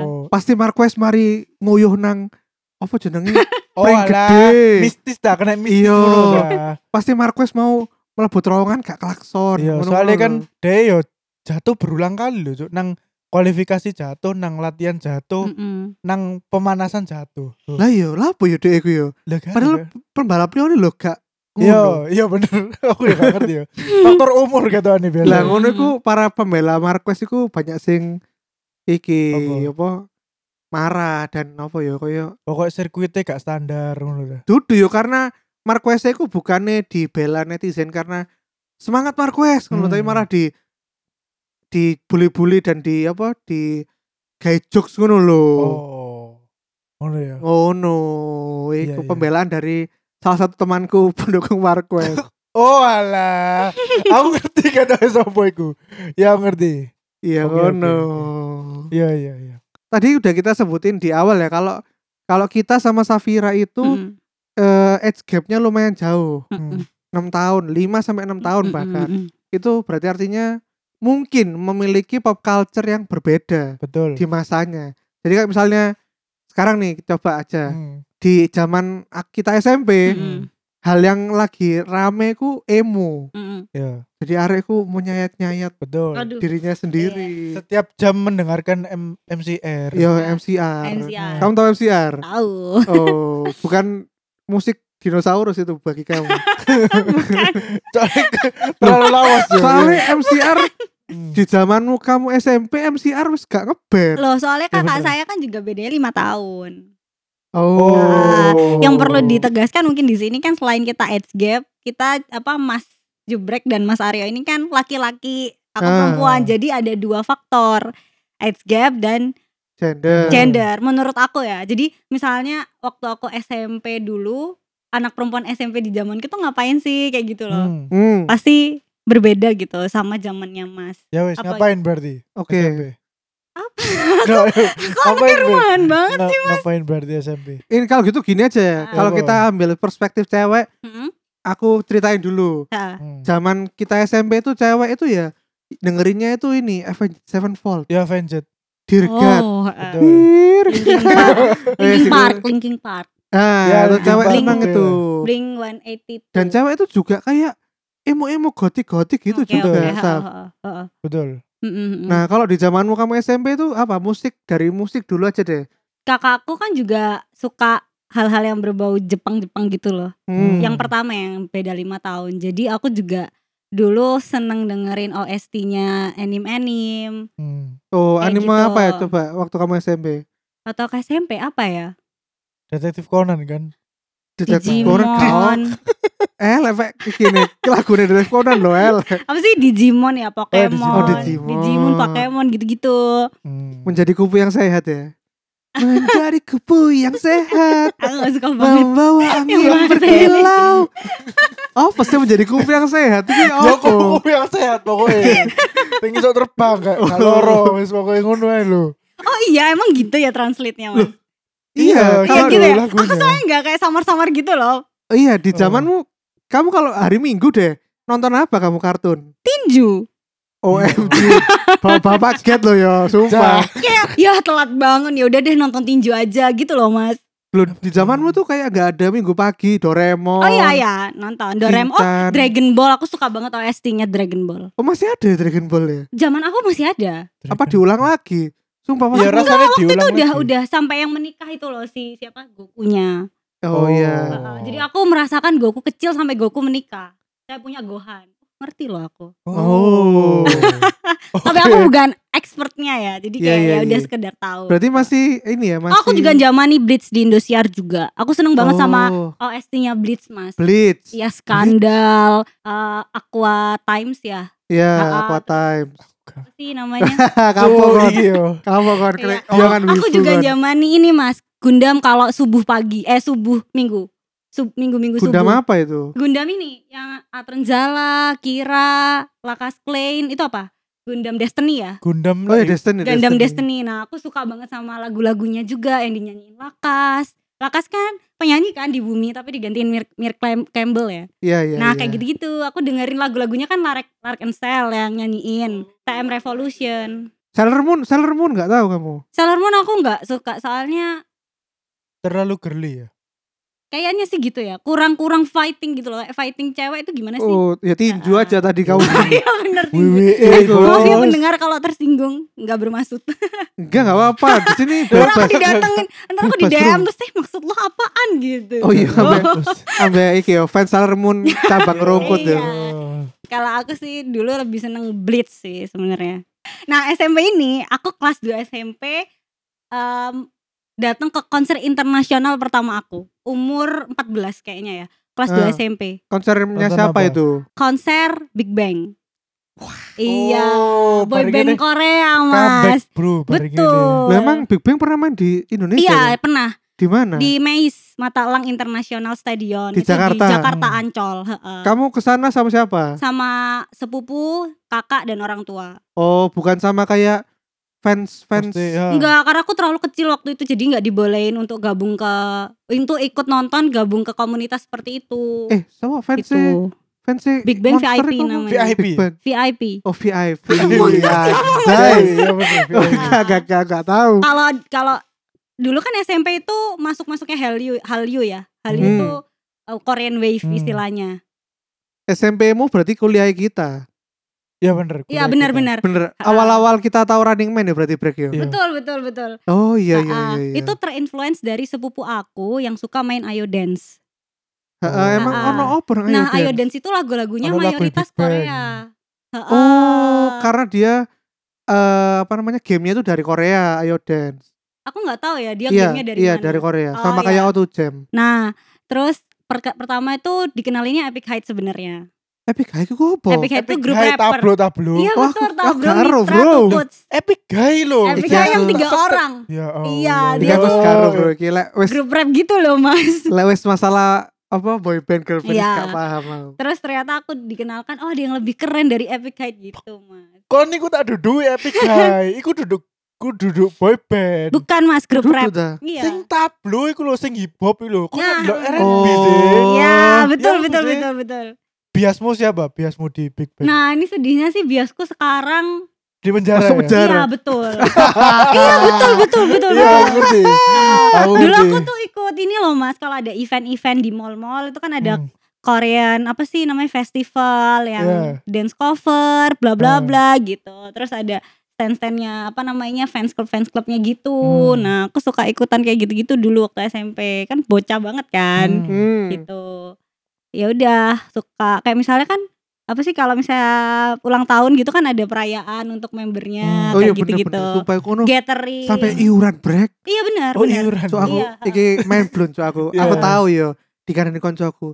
Speaker 2: Oh,
Speaker 1: Pasti Marquez mari nguyuh nang apa jenenge?
Speaker 2: *laughs* oh
Speaker 1: Pring
Speaker 2: alah,
Speaker 1: gede.
Speaker 2: mistis dah kena mistis
Speaker 1: Iya.
Speaker 2: ngono dah.
Speaker 1: Pasti Marquez mau mlebu terowongan gak klakson.
Speaker 2: Iya,
Speaker 1: ngono-ngono
Speaker 2: soalnya
Speaker 1: lho.
Speaker 2: kan dia yo jatuh berulang kali loh, Cuk. nang kualifikasi jatuh, nang latihan jatuh,
Speaker 3: Mm-mm.
Speaker 2: nang pemanasan jatuh. Tuh.
Speaker 1: lah iya, lah apa ya dhek iku ya?
Speaker 2: Lah, kan,
Speaker 1: Padahal
Speaker 2: kan?
Speaker 1: pembalap ini lho gak
Speaker 2: iya,
Speaker 1: ngono.
Speaker 2: iya bener. *laughs* Aku ya gak ngerti ya. Faktor umur gitu ane
Speaker 1: Lah
Speaker 2: biasa.
Speaker 3: Lah,
Speaker 1: ngono iku para pembela Marquez iku banyak sing iki
Speaker 2: Apa?
Speaker 1: apa marah dan apa ya koyo
Speaker 2: Pokok sirkuitnya gak standar ngono dah.
Speaker 1: dudu yo karena Marquez iku bukannya dibela netizen karena semangat Marquez ngono
Speaker 2: Hmm.
Speaker 1: tapi malah di dibully-bully dan di apa di gay jokes ngono lho.
Speaker 2: Oh. Ngono ya.
Speaker 1: Ngono,
Speaker 2: Iya,
Speaker 1: iku
Speaker 2: iya.
Speaker 1: pembelaan dari salah satu temanku *laughs* pendukung ya.
Speaker 2: *laughs*
Speaker 1: Marquez.
Speaker 2: Oh alah. aku ngerti kata sopo iku. Ya aku ngerti.
Speaker 1: Iya
Speaker 2: Oke, oke,
Speaker 1: ngono.
Speaker 2: Iya iya iya.
Speaker 1: Tadi udah kita sebutin di awal ya kalau kalau kita sama Safira itu
Speaker 3: Mm-mm.
Speaker 1: eh, age gapnya lumayan jauh.
Speaker 3: Mm-mm.
Speaker 1: 6 tahun, 5 sampai 6 Hmm, tahun
Speaker 3: Mm-mm.
Speaker 1: bahkan.
Speaker 3: Mm-mm.
Speaker 1: Itu berarti artinya mungkin memiliki pop culture yang berbeda
Speaker 2: Betul.
Speaker 1: di masanya. Jadi kayak misalnya sekarang nih coba aja
Speaker 2: Hmm.
Speaker 1: di zaman kita SMP,
Speaker 3: Mm-mm.
Speaker 1: hal yang lagi rame ku emo.
Speaker 3: Mm-mm.
Speaker 2: Ya,
Speaker 1: Jadi arekku mau nyayat-nyayat
Speaker 2: betul.
Speaker 3: Aduh.
Speaker 1: dirinya sendiri.
Speaker 2: Setiap jam mendengarkan M- MCR.
Speaker 1: Yo MCR.
Speaker 3: NCR.
Speaker 1: Kamu tahu MCR?
Speaker 3: *laughs* Tahu.
Speaker 1: *laughs* Oh, bukan musik dinosaurus itu bagi
Speaker 3: *laughs*
Speaker 1: kamu.
Speaker 3: Bukan.
Speaker 2: Soalnya ke- terlalu lawas
Speaker 3: Iya,
Speaker 2: ya.
Speaker 1: Soalnya MCR
Speaker 2: Hmm.
Speaker 1: di zamanmu kamu SMP MCR wis gak ngeband.
Speaker 3: Loh, soalnya
Speaker 2: Ya,
Speaker 3: kakak
Speaker 2: bener.
Speaker 3: saya kan juga bedanya lima tahun.
Speaker 1: Oh.
Speaker 3: Nah, yang perlu ditegaskan mungkin di sini kan selain kita age gap, kita apa Mas Jubrek dan Mas Aryo ini kan laki-laki, aku
Speaker 1: Ah.
Speaker 3: perempuan. Jadi ada dua faktor age gap dan
Speaker 1: gender.
Speaker 3: gender menurut aku ya. Jadi misalnya waktu aku SMP dulu, anak perempuan SMP di zaman itu ngapain sih kayak gitu
Speaker 2: Hmm.
Speaker 3: loh.
Speaker 1: Hmm.
Speaker 3: Pasti berbeda gitu sama zamannya Mas.
Speaker 2: Ya wes
Speaker 3: Apa-
Speaker 2: ngapain berarti?
Speaker 1: Oke.
Speaker 2: SMP.
Speaker 3: Apa?
Speaker 2: *laughs* Nggak, ngapain ber-
Speaker 3: Keruan banget.
Speaker 2: nga- ngapain berarti SMP?
Speaker 1: Ini kalau gitu gini aja ya.
Speaker 3: Ah.
Speaker 1: Kalau
Speaker 2: Apa?
Speaker 1: kita ambil perspektif cewek,
Speaker 3: Mm-mm.
Speaker 1: aku ceritain dulu.
Speaker 3: Ah,
Speaker 2: Hmm.
Speaker 1: Zaman kita SMP itu cewek itu ya dengerinnya itu ini Avenged Sevenfold,
Speaker 2: Ya Avenged.
Speaker 1: Dear God.
Speaker 3: Oh, ah.
Speaker 2: Betul.
Speaker 1: Dear *laughs* God.
Speaker 3: Linkin Park,
Speaker 1: Eh,
Speaker 3: Linkin
Speaker 1: sih,
Speaker 3: Park, Linkin Park,
Speaker 1: Nah,
Speaker 2: Ya,
Speaker 1: itu
Speaker 2: Linkin
Speaker 1: cewek
Speaker 3: Park
Speaker 1: emang
Speaker 2: itu
Speaker 1: itu.
Speaker 3: Blink 182.
Speaker 1: Dan cewek itu juga kayak emo-emo gotik-gotik gitu
Speaker 3: Oke,
Speaker 1: juga.
Speaker 3: oke,
Speaker 2: Betul.
Speaker 1: Saf.
Speaker 3: ha, ha, ha, ha.
Speaker 2: Betul.
Speaker 3: Mm-mm, mm-mm.
Speaker 1: Nah, kalau di zamanmu kamu SMP itu apa? Musik dari musik dulu aja deh.
Speaker 3: kakakku kan juga suka hal-hal yang berbau Jepang-Jepang gitu loh.
Speaker 1: Hmm.
Speaker 3: Yang pertama yang beda lima tahun. Jadi aku juga dulu seneng dengerin OST-nya anime-anime
Speaker 2: Hmm.
Speaker 1: Oh,
Speaker 3: kayak
Speaker 1: anime
Speaker 3: gitu.
Speaker 1: apa ya coba waktu kamu SMP?
Speaker 3: atau ke SMP apa ya?
Speaker 2: Detektif Conan kan.
Speaker 1: Detektif Conan. kawan.
Speaker 3: Digimon.
Speaker 1: Eh, lewek
Speaker 3: *laughs*
Speaker 1: gini. Lagunya Detektif Conan loh, El.
Speaker 3: Apa sih Digimon ya, Pokemon,
Speaker 2: Digimon. Oh,
Speaker 1: Digimon.
Speaker 3: Pokemon gitu-gitu.
Speaker 2: Hmm.
Speaker 1: Menjadi kupu yang sehat ya. Menjadi kupu yang sehat.
Speaker 3: *laughs* Aku gak
Speaker 1: Nah.
Speaker 3: suka banget. *laughs*
Speaker 1: membawa angin
Speaker 3: Yang
Speaker 1: berkilau. Oh, pasti menjadi kupu yang sehat. Ini
Speaker 2: Ya
Speaker 1: apa?
Speaker 2: kok yang sehat pokoknya. Pengen sok terbang gak?
Speaker 1: Oh.
Speaker 2: Gak loro wis pokoknya ngono ae lho.
Speaker 3: Oh iya, emang gitu ya translate-nya, Mas.
Speaker 1: Iya,
Speaker 3: Iya
Speaker 1: kalau
Speaker 3: gitu ya.
Speaker 2: lagunya.
Speaker 3: Aku soalnya gak kayak samar-samar gitu loh.
Speaker 1: iya di
Speaker 2: Oh.
Speaker 1: zamanmu kamu kalau hari Minggu deh nonton apa kamu kartun?
Speaker 3: Tinju.
Speaker 1: OMG. Bapak-bapak get loh ya, sumpah.
Speaker 3: Kayak ya telat bangun, ya udah deh nonton tinju aja gitu loh, Mas.
Speaker 1: Loh, di zamanmu tuh kayak nggak ada Minggu pagi, Doraemon.
Speaker 3: Oh iya ya, nonton Doraemon. Oh,
Speaker 1: Shinchan.
Speaker 3: Dragon Ball aku suka banget OST-nya Dragon Ball.
Speaker 1: Oh, masih ada Dragon Ball ya?
Speaker 3: Zaman aku masih ada.
Speaker 1: Apa diulang lagi? Sumpah
Speaker 2: Ya
Speaker 1: masih-
Speaker 2: rasanya
Speaker 3: Oh, Waktu itu
Speaker 2: diulang
Speaker 3: udah
Speaker 2: lagi.
Speaker 3: udah sampai yang menikah itu loh si siapa Gokunya.
Speaker 1: Oh iya.
Speaker 3: Heeh, Jadi aku merasakan Goku kecil sampai Goku menikah. Saya punya Gohan. Ngerti loh aku.
Speaker 1: Oh.
Speaker 3: Tapi aku bukan expertnya ya. Jadi
Speaker 1: Iya,
Speaker 3: kayak
Speaker 1: iya,
Speaker 3: ya udah
Speaker 1: iya.
Speaker 3: sekedar tahu.
Speaker 1: Berarti masih ini ya, masih
Speaker 3: Oh, aku juga zamani Blitz di Indosiar juga. Aku seneng banget sama
Speaker 1: Oh,
Speaker 3: OST-nya Blitz, Mas.
Speaker 1: Blitz.
Speaker 3: Iya, Skandal, eh, Aqua Times ya.
Speaker 1: Iya,
Speaker 3: Ah,
Speaker 1: Aqua Time. *laughs*
Speaker 3: Apa sih namanya?
Speaker 1: Kamu kan,
Speaker 2: yo.
Speaker 1: kamu kan
Speaker 3: Iya.
Speaker 1: omongan
Speaker 3: Aku
Speaker 1: wibu
Speaker 3: juga
Speaker 1: kan.
Speaker 3: zaman ini mas Gundam kalau subuh pagi Eh subuh minggu Sub, Minggu-minggu subuh
Speaker 1: Gundam apa itu?
Speaker 3: Gundam ini Yang Atrenzala Kira Lakas Klein Itu apa? Gundam Destiny ya?
Speaker 2: Gundam.
Speaker 1: Oh ya Destiny.
Speaker 3: Gundam Destiny. Nah aku suka banget sama lagu-lagunya juga Yang dinyanyiin Lakas Lakas kan penyanyi kan di bumi Tapi digantiin Mir, Mir Clem- Campbell ya
Speaker 1: Iya iya.
Speaker 3: Nah
Speaker 1: iya.
Speaker 3: kayak gitu-gitu Aku dengerin lagu-lagunya kan Lark, Lark and Cell yang nyanyiin TM Revolution
Speaker 1: Sailor Moon, Sailor Moon nggak tahu kamu?
Speaker 3: Sailor Moon aku nggak suka Soalnya
Speaker 2: Terlalu girly ya.
Speaker 3: kayaknya sih gitu ya kurang-kurang fighting gitu loh fighting cewek itu gimana sih *laughs*
Speaker 1: Oh, ya tinju aja tadi kamu.
Speaker 3: ya bener sih
Speaker 2: WWE
Speaker 1: Bos.
Speaker 3: maaf ya
Speaker 2: bos.
Speaker 3: pendengar kalau tersinggung nggak
Speaker 1: *laughs*
Speaker 3: bermaksud
Speaker 1: Enggak enggak apa-apa. Di
Speaker 3: *laughs*
Speaker 1: sini
Speaker 3: ntar
Speaker 1: bebas.
Speaker 3: aku didatengin ntar aku di
Speaker 1: Bebas,
Speaker 3: DM
Speaker 1: Bro.
Speaker 3: terus eh maksud lo apaan gitu
Speaker 1: Oh iya,
Speaker 3: Oh,
Speaker 1: Mbak. Ambe iki yo fans Sailor
Speaker 3: *laughs*
Speaker 1: Moon cabang rungkut
Speaker 3: Iya.
Speaker 2: Oh,
Speaker 1: ya.
Speaker 3: kalau aku sih dulu lebih seneng blitz sih sebenarnya nah SMP ini aku kelas 2 SMP em, datang ke konser internasional pertama aku umur 14 kayaknya ya kelas 2
Speaker 1: Ah.
Speaker 3: SMP
Speaker 1: Konsernya
Speaker 2: Nonton
Speaker 1: siapa
Speaker 2: apa?
Speaker 1: itu?
Speaker 3: konser Big Bang iya
Speaker 2: Oh, bareng
Speaker 3: boyband
Speaker 2: ini
Speaker 3: Korea
Speaker 2: comeback,
Speaker 3: mas
Speaker 2: Bro, bareng ini.
Speaker 3: betul
Speaker 1: Lah emang Big Bang pernah main di Indonesia?
Speaker 3: Oh. iya
Speaker 1: ya?
Speaker 3: pernah
Speaker 1: Di mana?
Speaker 3: di MAIS Matalang International Stadion
Speaker 1: Di
Speaker 3: Itu
Speaker 1: Jakarta.
Speaker 3: di Jakarta
Speaker 2: Hmm.
Speaker 3: Ancol heeh.
Speaker 1: Kamu ke sana sama siapa?
Speaker 3: sama sepupu kakak dan orang tua
Speaker 1: Oh, bukan sama kayak fans fans.
Speaker 2: Pasti, ya.
Speaker 3: enggak karena aku terlalu kecil waktu itu jadi nggak dibolehin untuk gabung ke untuk ikut nonton gabung ke komunitas seperti itu Gitu.
Speaker 1: Eh, sama fans
Speaker 3: itu
Speaker 1: fans
Speaker 3: Big Bang
Speaker 1: Monster
Speaker 3: VIP
Speaker 1: itu.
Speaker 3: namanya.
Speaker 2: VIP.
Speaker 1: Big Bang.
Speaker 3: VIP
Speaker 1: Oh
Speaker 3: *laughs*
Speaker 1: VIP.
Speaker 2: Monster
Speaker 1: Anjay.
Speaker 2: Iya,
Speaker 1: Oh,
Speaker 2: betul, betul.
Speaker 1: Enggak enggak enggak enggak tahu.
Speaker 3: kalau kalau dulu kan SMP itu masuk masuknya Hallyu Hallyu ya Hallyu
Speaker 1: Hmm.
Speaker 3: itu uh, Korean Wave
Speaker 2: Hmm.
Speaker 3: istilahnya
Speaker 1: SMP-mu berarti kuliah kita.
Speaker 2: Iya bener.
Speaker 3: Iya
Speaker 2: kuliah kita.
Speaker 3: benar-benar
Speaker 1: Bener.
Speaker 3: *laughs* Ah.
Speaker 1: Awal-awal kita tahu Running Man ya berarti break ya.
Speaker 2: Iya.
Speaker 3: betul betul betul
Speaker 1: Oh iya iya
Speaker 3: Ah, ah.
Speaker 1: iya. iya.
Speaker 3: itu terinfluence dari sepupu aku yang suka main Ayo Dance
Speaker 1: Ha, eh, emang
Speaker 3: Ah, ah.
Speaker 1: ono oper ayo
Speaker 3: nah Ayo
Speaker 1: Dance?
Speaker 3: Dance itu lagu-lagunya
Speaker 2: Lagu-lagu
Speaker 3: mayoritas
Speaker 2: Big Bang.
Speaker 3: Korea Ha-ah. Ah.
Speaker 1: Oh, karena dia eh apa namanya gamenya itu dari Korea, Ayo Dance.
Speaker 3: aku nggak tahu ya dia
Speaker 1: iya,
Speaker 3: gamenya dari
Speaker 1: iya
Speaker 3: mana
Speaker 1: dari Korea.
Speaker 3: Oh,
Speaker 1: Sama kayak
Speaker 3: iya.
Speaker 1: Auto Jam.
Speaker 3: nah terus perke- pertama itu dikenalinya Epic Height sebenarnya
Speaker 1: Epic High itu apa?
Speaker 3: Epic Height itu
Speaker 2: Epic
Speaker 3: grup
Speaker 2: High,
Speaker 3: rapper
Speaker 2: Tablo-tablo.
Speaker 3: iya
Speaker 1: ah, Wah,
Speaker 3: betul
Speaker 1: aku-
Speaker 3: tau
Speaker 1: aku
Speaker 3: bro
Speaker 1: nggak aruh,
Speaker 3: Mitra
Speaker 1: bro.
Speaker 3: Tututs.
Speaker 2: Epic Guy loh.
Speaker 3: Epic
Speaker 1: Iya,
Speaker 3: Height yang
Speaker 1: tuh.
Speaker 3: tiga orang
Speaker 2: Ya Allah.
Speaker 3: Iya,
Speaker 1: Dia
Speaker 3: dia-
Speaker 1: terus karo bro, gila wes
Speaker 3: grup rap gitu loh mas
Speaker 1: le- wes masalah apa boyband girlband
Speaker 3: Iya.
Speaker 1: gak paham aku.
Speaker 3: Terus ternyata aku dikenalkan, oh ada yang lebih keren dari Epic Guide gitu, Mas.
Speaker 2: Kon iku tak duduk epic guy. Iku duduk ku duduk boy band.
Speaker 3: Bukan Mas grup
Speaker 1: Duduk
Speaker 3: rap.
Speaker 1: dah.
Speaker 3: Iya.
Speaker 2: Sing tablo iku lho sing hip hop iku lho. Kon
Speaker 3: Nah.
Speaker 2: ndelok R&B
Speaker 1: Oh.
Speaker 2: sih.
Speaker 3: Iya, betul
Speaker 2: Iya,
Speaker 3: betul
Speaker 2: maksudnya-
Speaker 3: betul betul.
Speaker 2: Biasmu siapa? Biasmu di Big Bang.
Speaker 3: Nah, ini sedihnya sih biasku sekarang
Speaker 2: Di penjara
Speaker 1: Masuk
Speaker 2: ya.
Speaker 1: penjara. Jarang.
Speaker 3: Iya,
Speaker 2: *laughs*
Speaker 3: betul. iya, betul betul betul.
Speaker 2: Iya,
Speaker 3: betul.
Speaker 2: aku ngerti. Aku
Speaker 3: Dulu
Speaker 2: ngerti.
Speaker 3: aku tuh ikut ini loh Mas, kalau ada event-event di mall-mall itu kan ada
Speaker 2: Hmm.
Speaker 3: Korean apa sih namanya festival yang
Speaker 2: Iya.
Speaker 3: dance cover bla bla
Speaker 2: Hmm.
Speaker 3: bla gitu terus ada stand standnya apa namanya fans club fans clubnya gitu
Speaker 2: Hmm.
Speaker 3: nah aku suka ikutan kayak gitu gitu dulu waktu SMP kan bocah banget kan
Speaker 2: Hmm.
Speaker 1: Hmm.
Speaker 3: gitu ya udah suka kayak misalnya kan apa sih kalau misalnya ulang tahun gitu kan ada perayaan untuk membernya
Speaker 1: Oh iya
Speaker 3: kayak gitu gitu
Speaker 1: bener-bener Sumpah aku no,
Speaker 3: gathering
Speaker 1: Sampai iuran brek
Speaker 3: iya benar
Speaker 2: Oh,
Speaker 3: benar
Speaker 2: iuran.
Speaker 1: So aku
Speaker 3: Iya.
Speaker 1: Iki main blown so aku
Speaker 2: Iya.
Speaker 1: Aku tahu yo Di kanan konco aku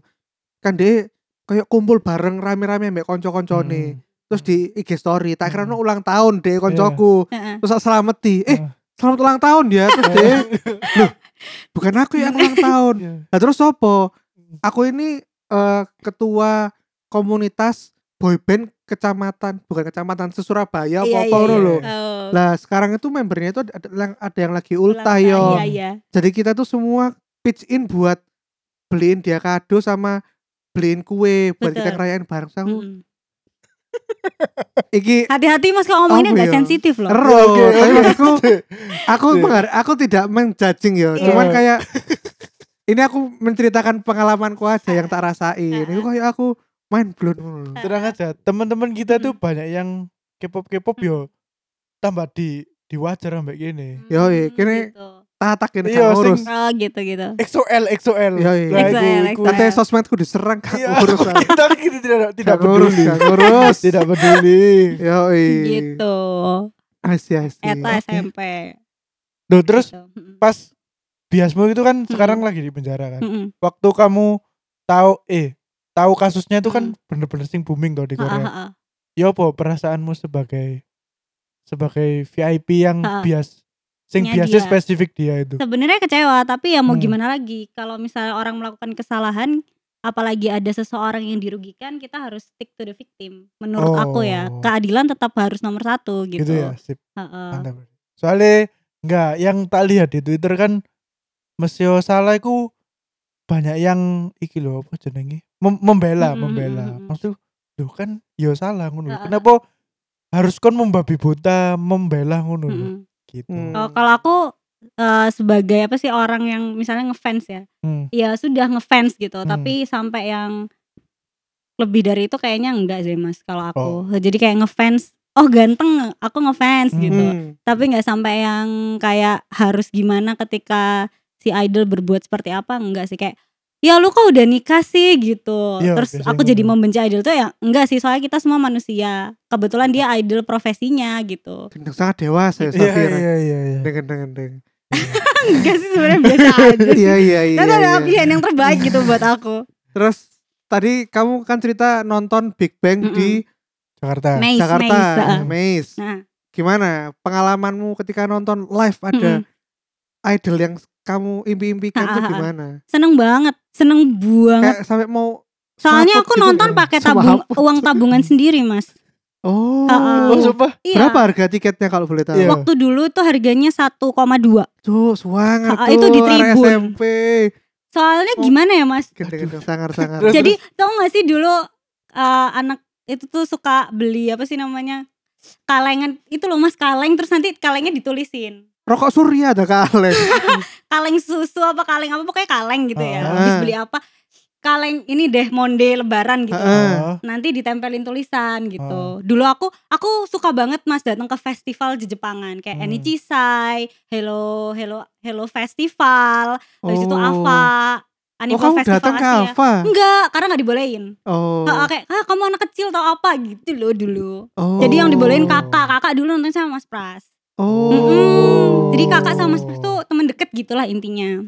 Speaker 1: Kan dia Kayak kumpul bareng rame-rame Mbak konco-konco nih Terus di IG story Tak kira no
Speaker 2: Hmm.
Speaker 1: ulang tahun deh koncoku
Speaker 3: Heeh.
Speaker 1: Terus tak selameti Eh
Speaker 2: Iya.
Speaker 1: selamat ulang tahun ya Terus
Speaker 2: Iya. *laughs*
Speaker 1: dia Bukan aku yang ulang tahun
Speaker 2: Iya.
Speaker 1: Nah terus sopo Aku ini eh, Ketua Komunitas Boyband Kecamatan Bukan kecamatan Sesurabaya
Speaker 3: Iya,
Speaker 1: Apa-apa
Speaker 3: iya,
Speaker 1: ngono
Speaker 2: iya.
Speaker 1: loh
Speaker 3: Oh,
Speaker 1: Lah sekarang itu membernya itu ada, ada yang- ada yang lagi ultah
Speaker 3: ulang
Speaker 1: yo.
Speaker 3: tahun, iya iya
Speaker 1: Jadi kita tuh semua pitch in buat beliin dia kado sama beliin kue buat kita
Speaker 3: Betul. Hmm.
Speaker 1: ngerayain bareng sama.
Speaker 3: Mm-mm.
Speaker 1: Iki
Speaker 3: hati-hati mas kalau ngomonginnya
Speaker 1: Apa
Speaker 3: nggak
Speaker 1: ya?
Speaker 3: sensitif loh
Speaker 1: ero.
Speaker 2: Oke, oke.
Speaker 1: Tapi maksudku aku
Speaker 2: Iya.
Speaker 1: menghar- aku tidak menjudging ya.
Speaker 3: Iya.
Speaker 1: Cuman kayak ini aku menceritakan pengalamanku aja yang tak rasain. Itu kayak aku main blown dulu.
Speaker 2: Terang aja, teman-teman kita tuh
Speaker 3: Hmm.
Speaker 2: banyak yang K-pop K-pop yo tambah di di wajar sampai gini.
Speaker 1: Yo, iya,
Speaker 3: Hmm,
Speaker 1: kini-
Speaker 3: gitu.
Speaker 1: Tatak ini gak
Speaker 2: Iya, sing-
Speaker 1: ngurus.
Speaker 3: oh gitu gitu
Speaker 2: XOL XOL.
Speaker 1: Iya, iya.
Speaker 2: Lah,
Speaker 3: XOL,
Speaker 2: iku- iku- *laughs*
Speaker 3: XOL.
Speaker 1: Katanya sosmedku diserang gak
Speaker 2: Iya.
Speaker 1: ngurus. aku.
Speaker 2: Kita kita tidak tidak
Speaker 1: Gak ngurus,
Speaker 2: peduli.
Speaker 1: gak ngurus.
Speaker 2: Tidak peduli.
Speaker 1: Yo,
Speaker 3: gitu
Speaker 1: Asyik, asyik.
Speaker 3: eta
Speaker 2: Oke.
Speaker 3: SMP
Speaker 2: Duh, terus
Speaker 3: gitu. Mm-mm.
Speaker 2: pas biasmu itu
Speaker 3: Hmm.
Speaker 2: kan sekarang lagi di penjara kan.
Speaker 3: Mm-mm.
Speaker 2: Waktu kamu tahu eh tahu kasusnya itu
Speaker 3: Hmm.
Speaker 2: kan bener-bener sing booming tuh di
Speaker 3: Ha, ha,
Speaker 2: Korea.
Speaker 3: ha.
Speaker 2: Ya apa perasaanmu sebagai sebagai VIP yang
Speaker 3: Ha.
Speaker 2: bias sing
Speaker 3: Nya
Speaker 2: biasnya
Speaker 3: dia.
Speaker 2: spesifik dia itu.
Speaker 3: sebenarnya kecewa tapi ya
Speaker 2: Hmm.
Speaker 3: mau gimana lagi kalau misalnya orang melakukan kesalahan apalagi ada seseorang yang dirugikan kita harus stick to the victim
Speaker 2: Oh.
Speaker 3: menurut aku ya keadilan tetap harus nomor satu gitu,
Speaker 2: Gitu ya, sip.
Speaker 3: Ha, ha.
Speaker 2: Mantap. Soalnya enggak yang tak lihat di Twitter kan Mesio Salah iku banyak yang iki lho apa jenenge? Mem-
Speaker 1: Hmm,
Speaker 2: membela,
Speaker 3: Mm, mm,
Speaker 2: membela.
Speaker 3: mm, mm.
Speaker 2: Maksud lho kan yo salah ngono lho.
Speaker 3: Heeh.
Speaker 2: Kenapa harus kon membabi buta membela ngono lho
Speaker 3: Mm-mm.
Speaker 2: gitu.
Speaker 1: Hmm.
Speaker 3: Oh, kalau aku eh, sebagai apa sih orang yang misalnya ngefans ya
Speaker 1: Oh.
Speaker 2: Hmm.
Speaker 3: ya sudah ngefans gitu
Speaker 2: Hmm.
Speaker 3: tapi sampai yang lebih dari itu kayaknya enggak sih mas kalau aku jadi kayak ngefans oh ganteng aku ngefans
Speaker 2: Oh. Hmm.
Speaker 3: gitu
Speaker 1: Hmm.
Speaker 3: tapi nggak sampai yang kayak harus gimana ketika si idol berbuat seperti apa enggak sih kayak ya lu kok udah nikah sih gitu
Speaker 2: Iya,
Speaker 3: terus
Speaker 2: biasanya
Speaker 3: aku jadi
Speaker 2: ngomong.
Speaker 3: membenci idol tuh ya enggak sih soalnya kita semua manusia kebetulan
Speaker 1: Iya.
Speaker 3: dia idol profesinya
Speaker 1: *laughs*
Speaker 3: gitu
Speaker 1: Gendeng sangat dewasa ya
Speaker 2: Iya
Speaker 1: Safira.
Speaker 2: iya iya iya.
Speaker 1: Deng deng deng.
Speaker 3: enggak sih sebenarnya
Speaker 1: *laughs*
Speaker 3: biasa aja sih.
Speaker 1: Iya
Speaker 3: *laughs*
Speaker 1: iya iya.
Speaker 3: Kan ada
Speaker 1: iya.
Speaker 3: pilihan yang terbaik gitu buat aku
Speaker 1: Terus tadi kamu kan cerita nonton Big Bang
Speaker 3: Mm-mm.
Speaker 1: di
Speaker 2: Jakarta.
Speaker 3: Maze,
Speaker 1: Nah, Jakarta,
Speaker 3: maze, heeh.
Speaker 1: Maze.
Speaker 3: Nah.
Speaker 1: Gimana pengalamanmu ketika nonton live ada idol yang kamu impi-impikan
Speaker 3: Ha,
Speaker 1: tuh
Speaker 3: ha, ha.
Speaker 1: gimana?
Speaker 3: seneng Ah, banget seneng banget
Speaker 1: Kayak sampai mau
Speaker 3: soalnya
Speaker 1: selaput
Speaker 3: aku
Speaker 1: gitu
Speaker 3: nonton
Speaker 1: ya?
Speaker 3: pakai
Speaker 1: Sama
Speaker 3: tabung
Speaker 1: hapus.
Speaker 3: uang tabungan sendiri
Speaker 1: *laughs*
Speaker 3: mas
Speaker 1: Oh.
Speaker 3: Ha, ha.
Speaker 2: Oh, sumpah.
Speaker 3: iya
Speaker 1: Berapa harga tiketnya kalau boleh tahu?
Speaker 2: Iya.
Speaker 3: waktu dulu tuh harganya 1,2
Speaker 1: Tuh, suangar
Speaker 3: Ha,
Speaker 1: tuh.
Speaker 3: Ah, itu di
Speaker 1: arek
Speaker 3: tribun.
Speaker 1: SMP.
Speaker 3: soalnya
Speaker 1: Oh.
Speaker 3: gimana ya mas
Speaker 1: Gendeng-gendeng sangar-sangar.
Speaker 2: Terus,
Speaker 3: jadi tau gak sih dulu eh, anak itu tuh suka beli apa sih namanya kalengan itu loh mas kaleng terus nanti kalengnya ditulisin
Speaker 1: Rokok surya ada
Speaker 3: *laughs*
Speaker 1: kaleng.
Speaker 3: kaleng susu apa kaleng apa pokoknya kaleng gitu ya
Speaker 2: Ah.
Speaker 3: habis beli apa kaleng ini deh monde lebaran gitu
Speaker 1: Ah. Oh.
Speaker 2: Oh,
Speaker 3: nanti ditempelin tulisan gitu. Dulu aku aku suka banget Mas datang ke festival di Jepangan kayak
Speaker 2: Hmm.
Speaker 3: Enichisai, Hello Hello Hello Festival, terus itu Ava,
Speaker 1: Oh,
Speaker 3: Anime
Speaker 1: kamu
Speaker 3: Festival
Speaker 1: datang ke
Speaker 3: Asia.
Speaker 1: Ava?
Speaker 3: Enggak, karena nggak dibolehin.
Speaker 1: Oh.
Speaker 3: Heeh, kayak, "Ah, kamu anak kecil tau apa gitu loh dulu.
Speaker 1: oh.
Speaker 3: Jadi yang dibolehin
Speaker 2: Oh.
Speaker 3: kakak, kakak dulu nonton sama Mas Pras.
Speaker 1: Oh.
Speaker 3: Mm-mm. Jadi kakak
Speaker 2: Oh.
Speaker 3: sama Mas Pras tuh teman deket gitulah intinya.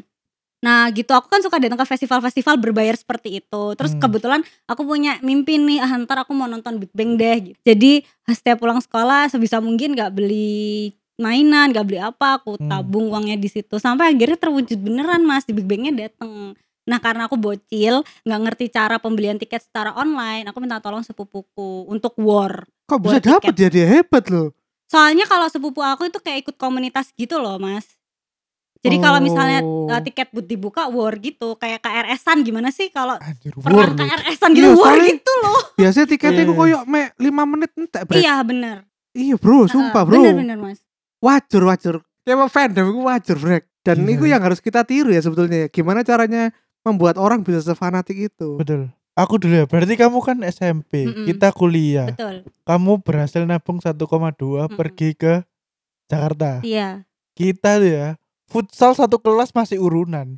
Speaker 3: Nah gitu aku kan suka datang ke festival-festival berbayar seperti itu. Terus
Speaker 2: Hmm.
Speaker 3: kebetulan aku punya mimpi nih ah, ntar aku mau nonton Big Bang deh. gitu. Jadi setiap pulang sekolah sebisa mungkin nggak beli mainan, nggak beli apa, aku
Speaker 2: Hmm.
Speaker 3: tabung uangnya di situ. Sampai akhirnya terwujud beneran Mas di Big Bangnya dateng. Nah karena aku bocil nggak ngerti cara pembelian tiket secara online, aku minta tolong sepupuku untuk war.
Speaker 1: Kok bisa
Speaker 3: Buat
Speaker 1: dapat ya dia hebat loh.
Speaker 3: Soalnya kalau sepupu aku itu kayak ikut komunitas gitu loh mas. Jadi kalau misalnya
Speaker 1: Oh.
Speaker 3: uh, tiket booth dibuka war gitu, kayak KRS-an gimana sih kalau
Speaker 2: Anjir, war
Speaker 3: pernah
Speaker 2: lu.
Speaker 3: KRS-an
Speaker 1: Iya,
Speaker 3: gitu war
Speaker 1: soalnya-
Speaker 3: gitu loh.
Speaker 1: Biasanya tiketnya kok
Speaker 2: Iya.
Speaker 1: koyok me 5 menit entek bre.
Speaker 3: Hmm. Iya bener.
Speaker 1: Iya bro, sumpah bro. Iya.
Speaker 3: Bener-bener mas.
Speaker 1: Wajar wajar. Tema fandom itu wajar bre. Dan
Speaker 2: Iya.
Speaker 1: itu yang harus kita tiru ya sebetulnya. Gimana caranya membuat orang bisa sefanatik itu?
Speaker 2: Betul. Aku dulu ya. Berarti kamu kan SMP,
Speaker 1: Hmm,
Speaker 3: Mm-mm.
Speaker 2: kita kuliah.
Speaker 3: Betul.
Speaker 2: Kamu berhasil nabung 1,2
Speaker 1: Hmm,
Speaker 3: Mm-mm.
Speaker 2: pergi ke Jakarta.
Speaker 3: Iya.
Speaker 2: Kita tuh ya, futsal satu kelas masih urunan.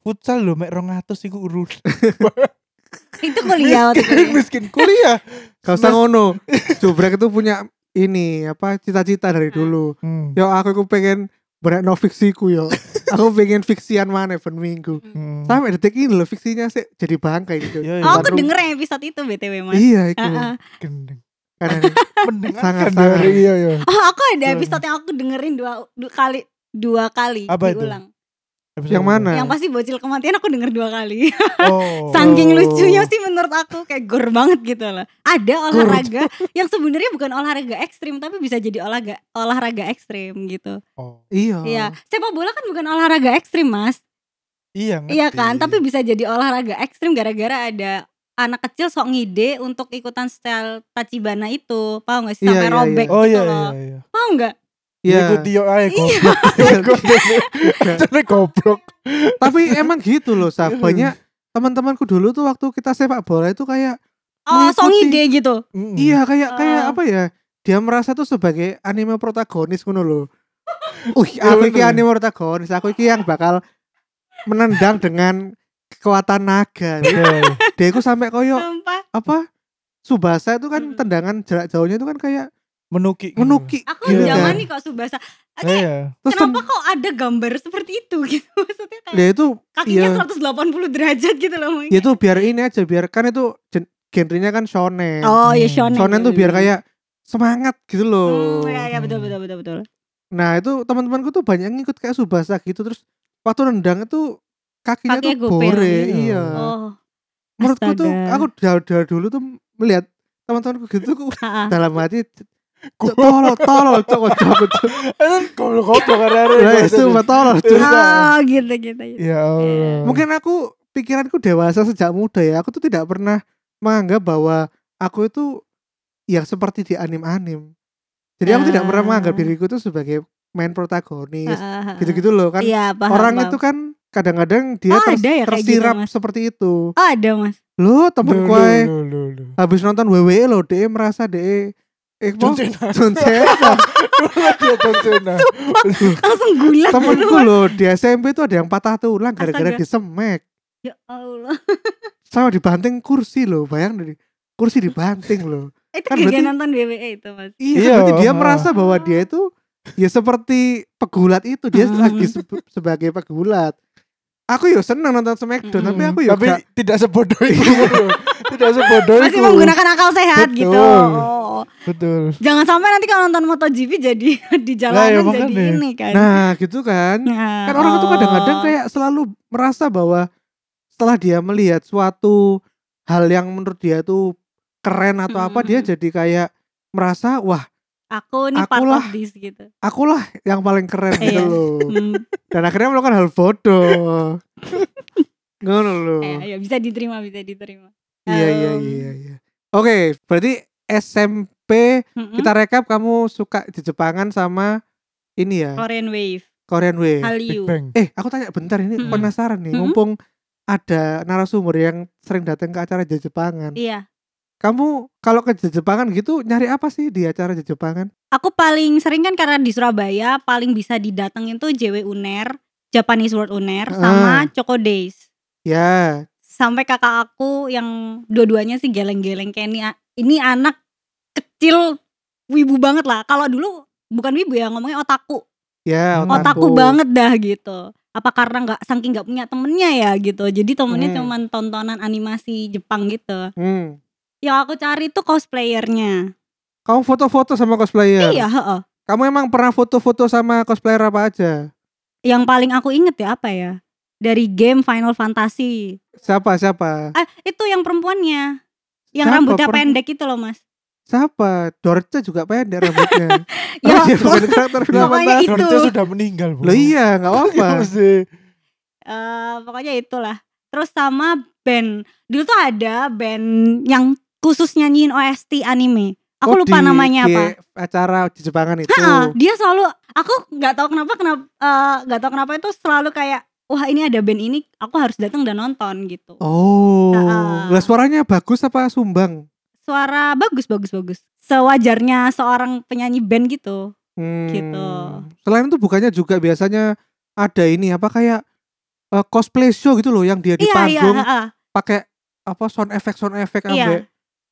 Speaker 2: Futsal lho mek 200 iku urunan.
Speaker 3: Itu kuliah waktu
Speaker 1: *laughs*
Speaker 2: miskin,
Speaker 1: Iya,
Speaker 3: itu.
Speaker 2: miskin kuliah.
Speaker 1: Gak usah
Speaker 2: Mas-
Speaker 3: *laughs*
Speaker 1: ngono. Jobrek itu punya ini apa cita-cita dari dulu.
Speaker 2: Hmm.
Speaker 1: Yo aku aku pengen berat no fiksiku
Speaker 3: *laughs*
Speaker 1: yo. aku pengen fiksian mana ben minggu.
Speaker 2: Hmm.
Speaker 1: Sampai detik ini loh fiksinya sih jadi bangkai gitu.
Speaker 2: Iya, iya.
Speaker 3: Oh, aku
Speaker 1: Baru-
Speaker 3: denger yang episode itu BTW mas.
Speaker 1: Iya itu.
Speaker 3: Heeh.
Speaker 2: Gendeng.
Speaker 3: *laughs*
Speaker 1: Karena
Speaker 2: Mendengarkan
Speaker 1: Sangat-sangat.
Speaker 2: dari iya iya.
Speaker 3: Oh, aku ada
Speaker 2: Betul.
Speaker 3: episode yang aku dengerin dua, dua kali dua kali
Speaker 2: Apa itu?
Speaker 3: diulang.
Speaker 1: Yang mana?
Speaker 3: Yang pasti bocil kematian aku denger dua kali.
Speaker 2: Oh.
Speaker 3: Saking lucunya sih menurut aku kayak gor banget gitu loh. Ada
Speaker 1: Gor.
Speaker 3: olahraga *laughs* yang sebenarnya bukan olahraga ekstrim tapi bisa jadi olahraga olahraga ekstrim gitu.
Speaker 2: Oh.
Speaker 1: iya.
Speaker 3: Iya, sepak bola kan bukan olahraga ekstrim mas.
Speaker 2: Iya, ngerti.
Speaker 3: Iya kan, tapi bisa jadi olahraga ekstrim gara-gara ada anak kecil sok ngide untuk ikutan style Tachibana itu, paham gak sih
Speaker 1: Iya,
Speaker 3: sampai
Speaker 1: iya, iya.
Speaker 3: robek
Speaker 2: Oh
Speaker 3: gitu
Speaker 2: iya
Speaker 3: loh,
Speaker 2: iya iya.
Speaker 3: paham gak?
Speaker 1: Iya.
Speaker 2: Iku
Speaker 1: *laughs*
Speaker 2: Tio ae
Speaker 3: Iya.
Speaker 2: goblok. Iku Tio. Jadi goblok.
Speaker 1: Tapi emang gitu loh, Saf.
Speaker 2: Iya.
Speaker 1: Banyak teman-temanku dulu tuh waktu kita sepak bola itu kayak
Speaker 3: Oh, sok
Speaker 1: Mengikuti-
Speaker 3: ngide gitu.
Speaker 2: Mm.
Speaker 1: iya kayak kayak
Speaker 3: Ah.
Speaker 1: apa ya? Dia merasa tuh sebagai anime protagonis ngono
Speaker 2: *laughs*
Speaker 1: loh. Uh,
Speaker 2: Iya,
Speaker 1: aku iki
Speaker 2: bener.
Speaker 1: anime protagonis, aku iki yang bakal menendang dengan kekuatan naga.
Speaker 2: Betul.
Speaker 1: Dia itu sampai koyo
Speaker 3: Sumpah,
Speaker 1: apa? Subasa itu kan
Speaker 3: Mm.
Speaker 1: tendangan jarak jauhnya itu kan kayak
Speaker 2: menuki. gitu.
Speaker 1: menuki
Speaker 3: aku
Speaker 2: Iya.
Speaker 3: zaman nih kok Subasa. Oke,
Speaker 2: Iya.
Speaker 1: Terus
Speaker 3: kenapa kok ada gambar seperti itu gitu? *laughs* Maksudnya
Speaker 1: dia
Speaker 3: kayak
Speaker 1: itu
Speaker 3: kakinya
Speaker 1: iya.
Speaker 3: 180 derajat gitu loh mungkin.
Speaker 1: ya itu biar ini aja biar kan itu gen- genrenya kan shonen.
Speaker 3: Oh, ya
Speaker 2: Hmm.
Speaker 3: shonen.
Speaker 1: shonen tuh
Speaker 3: gitu.
Speaker 1: biar kayak semangat gitu loh.
Speaker 3: Hmm, ya, ya betul betul betul betul.
Speaker 1: Nah itu teman-temanku tuh banyak ngikut kayak Subasa gitu terus waktu nendang itu kakinya
Speaker 3: Kakinya
Speaker 1: tuh
Speaker 3: gopel.
Speaker 1: bore,
Speaker 2: Iya.
Speaker 1: iya.
Speaker 3: Oh.
Speaker 1: Menurutku tuh
Speaker 3: astaga.
Speaker 1: aku dari, dari dulu tuh melihat teman-temanku gitu
Speaker 3: *laughs*
Speaker 1: aku
Speaker 3: Ha-ha.
Speaker 1: *laughs* dalam hati "Cuk, tolol tolol cok cok cok
Speaker 2: Eh, goblok-goblok hari-hari.
Speaker 1: Nah, sumpah, tolol Cuk."
Speaker 3: Oh, gitu gitu.
Speaker 1: Iya,
Speaker 3: gitu.
Speaker 2: Ya Allah.
Speaker 1: Mungkin aku pikiranku dewasa sejak muda ya. Aku tuh tidak pernah menganggap bahwa aku itu ya seperti di anim-anim. Jadi aku tidak pernah
Speaker 3: Ah.
Speaker 1: menganggap diriku itu sebagai main protagonis.
Speaker 3: Ha-ha, ha-ha.
Speaker 1: Gitu-gitu loh kan.
Speaker 3: Iya, paham.
Speaker 1: Orang
Speaker 3: paham.
Speaker 1: itu kan kadang-kadang dia
Speaker 3: Oh,
Speaker 1: ters-
Speaker 3: ada ya kayak gitu,
Speaker 1: tersirap
Speaker 3: Mas.
Speaker 1: seperti itu.
Speaker 3: Oh, ada Mas.
Speaker 1: Loh, temen gue
Speaker 2: Lu, lu, lu, lu.
Speaker 1: habis nonton WWE loh, dia merasa dia eh
Speaker 2: *laughs* John
Speaker 1: apa?
Speaker 2: Cena.
Speaker 1: John Cena.
Speaker 2: Dia John Cena.
Speaker 3: Langsung gulat.
Speaker 1: Temenku loh di SMP itu ada yang patah tulang gara-gara
Speaker 3: Astaga.
Speaker 1: disemek.
Speaker 3: Ya Allah.
Speaker 1: Sama dibanting kursi loh, bayang dari kursi dibanting loh.
Speaker 3: Eh, Itu
Speaker 1: Kan
Speaker 3: gara
Speaker 1: berarti-
Speaker 3: nonton WWE itu, Mas.
Speaker 1: Iya,
Speaker 2: Iya,
Speaker 1: berarti dia
Speaker 3: oh.
Speaker 2: heeh.
Speaker 1: merasa bahwa dia itu ya seperti pegulat itu dia
Speaker 3: *laughs* Hmm.
Speaker 1: lagi se- sebagai pegulat. Aku ya seneng nonton Smackdown,
Speaker 3: Hmm.
Speaker 1: tapi aku ya
Speaker 2: Tapi
Speaker 1: gak- Iya.
Speaker 2: tidak sebodoh
Speaker 1: *laughs*
Speaker 2: itu. Tidak sebodoh
Speaker 3: Masih
Speaker 2: itu.
Speaker 3: menggunakan akal sehat
Speaker 2: Betul.
Speaker 3: gitu. Oh.
Speaker 2: Betul.
Speaker 3: Jangan sampai nanti kalau nonton MotoGP jadi *laughs* di
Speaker 2: Lah, ya
Speaker 3: jalanan jadi
Speaker 2: makanya.
Speaker 3: ini kan.
Speaker 1: Nah, gitu kan.
Speaker 3: Nah,
Speaker 1: Kan orang itu
Speaker 3: oh.
Speaker 1: kadang-kadang kayak selalu merasa bahwa setelah dia melihat suatu hal yang menurut dia itu keren atau apa,
Speaker 3: Hmm.
Speaker 1: dia jadi kayak merasa wah,
Speaker 3: aku nih part
Speaker 1: Akulah.
Speaker 3: of this gitu.
Speaker 1: akulah yang paling keren gitu
Speaker 3: Iya.
Speaker 1: loh.
Speaker 3: Hmm,
Speaker 1: Dan akhirnya melakukan hal
Speaker 3: *laughs*
Speaker 1: bodoh. Ngono loh.
Speaker 3: ya, ya, bisa diterima, bisa diterima.
Speaker 1: Iya iya
Speaker 3: Um,
Speaker 1: iya iya. Oke, berarti SMP
Speaker 3: Mm-mm.
Speaker 1: kita rekap kamu suka di Jepangan sama ini ya,
Speaker 3: Korean Wave,
Speaker 1: Korean Wave.
Speaker 2: Big
Speaker 3: Hallyu.
Speaker 2: Bang.
Speaker 1: Eh, aku tanya bentar ini
Speaker 3: Mm-mm.
Speaker 1: penasaran nih,
Speaker 3: Mm-mm.
Speaker 1: mumpung ada narasumber yang sering datang ke acara di Jepangan.
Speaker 3: Iya.
Speaker 1: Kamu kalau ke Jepangan gitu nyari apa sih di acara di Jepangan?
Speaker 3: Aku paling sering kan karena di Surabaya paling bisa didatengin tuh JW Uner, Japanese World Uner sama Choco Days.
Speaker 1: Ya,
Speaker 3: Sampai kakak aku yang dua-duanya sih geleng-geleng kayak ini, ini anak kecil wibu banget lah. Kalau dulu bukan wibu ya ngomongnya otaku.
Speaker 1: ya
Speaker 2: Hmm.
Speaker 3: otakku banget dah gitu apa karena nggak saking nggak punya temennya ya gitu jadi temennya
Speaker 1: Hmm.
Speaker 3: cuman tontonan animasi Jepang gitu
Speaker 1: Hmm.
Speaker 3: yang aku cari tuh cosplayernya
Speaker 1: Kamu foto-foto sama cosplayer.
Speaker 3: iya heeh.
Speaker 1: Kamu emang pernah foto-foto sama cosplayer apa aja?
Speaker 3: yang paling aku inget ya apa ya dari game Final Fantasy.
Speaker 1: Siapa siapa?
Speaker 3: Ah, itu yang perempuannya. Yang
Speaker 1: Siapa
Speaker 3: rambutnya
Speaker 1: perempuan?
Speaker 3: pendek itu loh, Mas.
Speaker 1: Siapa? Dorce juga pendek
Speaker 3: *laughs*
Speaker 1: rambutnya.
Speaker 3: Ya, Iya.
Speaker 1: Oh, dia bukan karakter
Speaker 2: Pokoknya
Speaker 1: Final Fantasy.
Speaker 3: itu.
Speaker 2: Dorce sudah meninggal, Bu.
Speaker 1: Loh iya, enggak apa-apa.
Speaker 2: *laughs* Iya, mesti.
Speaker 3: eh, pokoknya itulah. Terus sama band. Dulu tuh ada band yang khusus nyanyiin OST anime.
Speaker 1: Oh,
Speaker 3: Aku lupa
Speaker 1: di- E
Speaker 3: namanya
Speaker 1: di
Speaker 3: apa.
Speaker 1: Acara di Jepangan itu.
Speaker 3: Ha, dia selalu aku nggak tahu kenapa kenapa eh, nggak tahu kenapa itu selalu kayak wah ini ada band ini aku harus datang dan nonton gitu.
Speaker 1: Oh.
Speaker 3: Ha-ha.
Speaker 1: Lah suaranya bagus apa sumbang?
Speaker 3: Suara bagus bagus bagus. Sewajarnya seorang penyanyi band gitu.
Speaker 1: Hmm.
Speaker 3: Gitu.
Speaker 1: Selain itu bukannya juga biasanya ada ini apa kayak eh, cosplay show gitu loh yang dia di
Speaker 3: Iya iya.
Speaker 1: panggung
Speaker 3: ha-ha.
Speaker 1: pakai apa sound effect sound effect
Speaker 3: Iya.
Speaker 1: ambek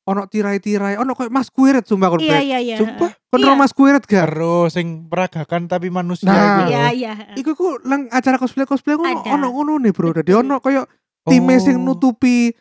Speaker 1: ono tirai-tirai ono kayak Mas Kuiret sumpah kon
Speaker 3: Iya
Speaker 1: Brek.
Speaker 3: iya iya.
Speaker 2: Sumpah.
Speaker 1: Kon
Speaker 3: Iya.
Speaker 1: tau Mas Kuiret gak?
Speaker 2: Terus sing peragakan tapi manusia
Speaker 1: Nah.
Speaker 2: itu loh.
Speaker 3: Iya iya.
Speaker 1: Iku ku lang acara cosplay cosplay ono
Speaker 3: Ada.
Speaker 1: ono ngono nih bro. Dadi
Speaker 3: Betul.
Speaker 1: ono kayak time
Speaker 2: Oh.
Speaker 1: sing nutupi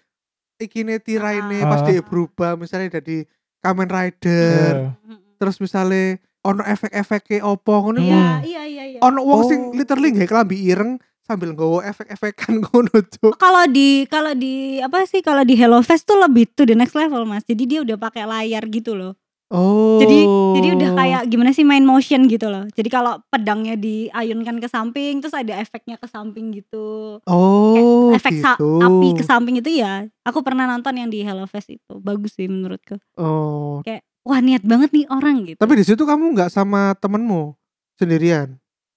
Speaker 1: ikine tiraine
Speaker 2: Ah.
Speaker 1: pas dia berubah misalnya dari Kamen Rider
Speaker 2: Iya.
Speaker 1: terus misalnya ono efek-efeknya opo ngono ku
Speaker 2: Iya.
Speaker 3: Iya iya iya. iya.
Speaker 1: ono wong sing
Speaker 2: Oh.
Speaker 1: literally nggae klambi ireng sambil nggowo efek-efekan *laughs* ngono cuk.
Speaker 3: Kalau di kalau di apa sih kalau di Hello Fest tuh lebih to the next level Mas. Jadi dia udah pakai layar gitu loh.
Speaker 1: Oh.
Speaker 3: Jadi jadi udah kayak gimana sih main motion gitu loh. Jadi kalau pedangnya diayunkan ke samping terus ada efeknya ke samping gitu.
Speaker 1: Oh,
Speaker 3: Efek sa-
Speaker 1: gitu.
Speaker 3: api ke samping itu ya. Aku pernah nonton yang di Hello Fest itu. Bagus sih menurutku.
Speaker 1: Oh.
Speaker 3: Wah, niat banget nih orang gitu.
Speaker 1: Tapi di situ kamu nggak sama temenmu sendirian.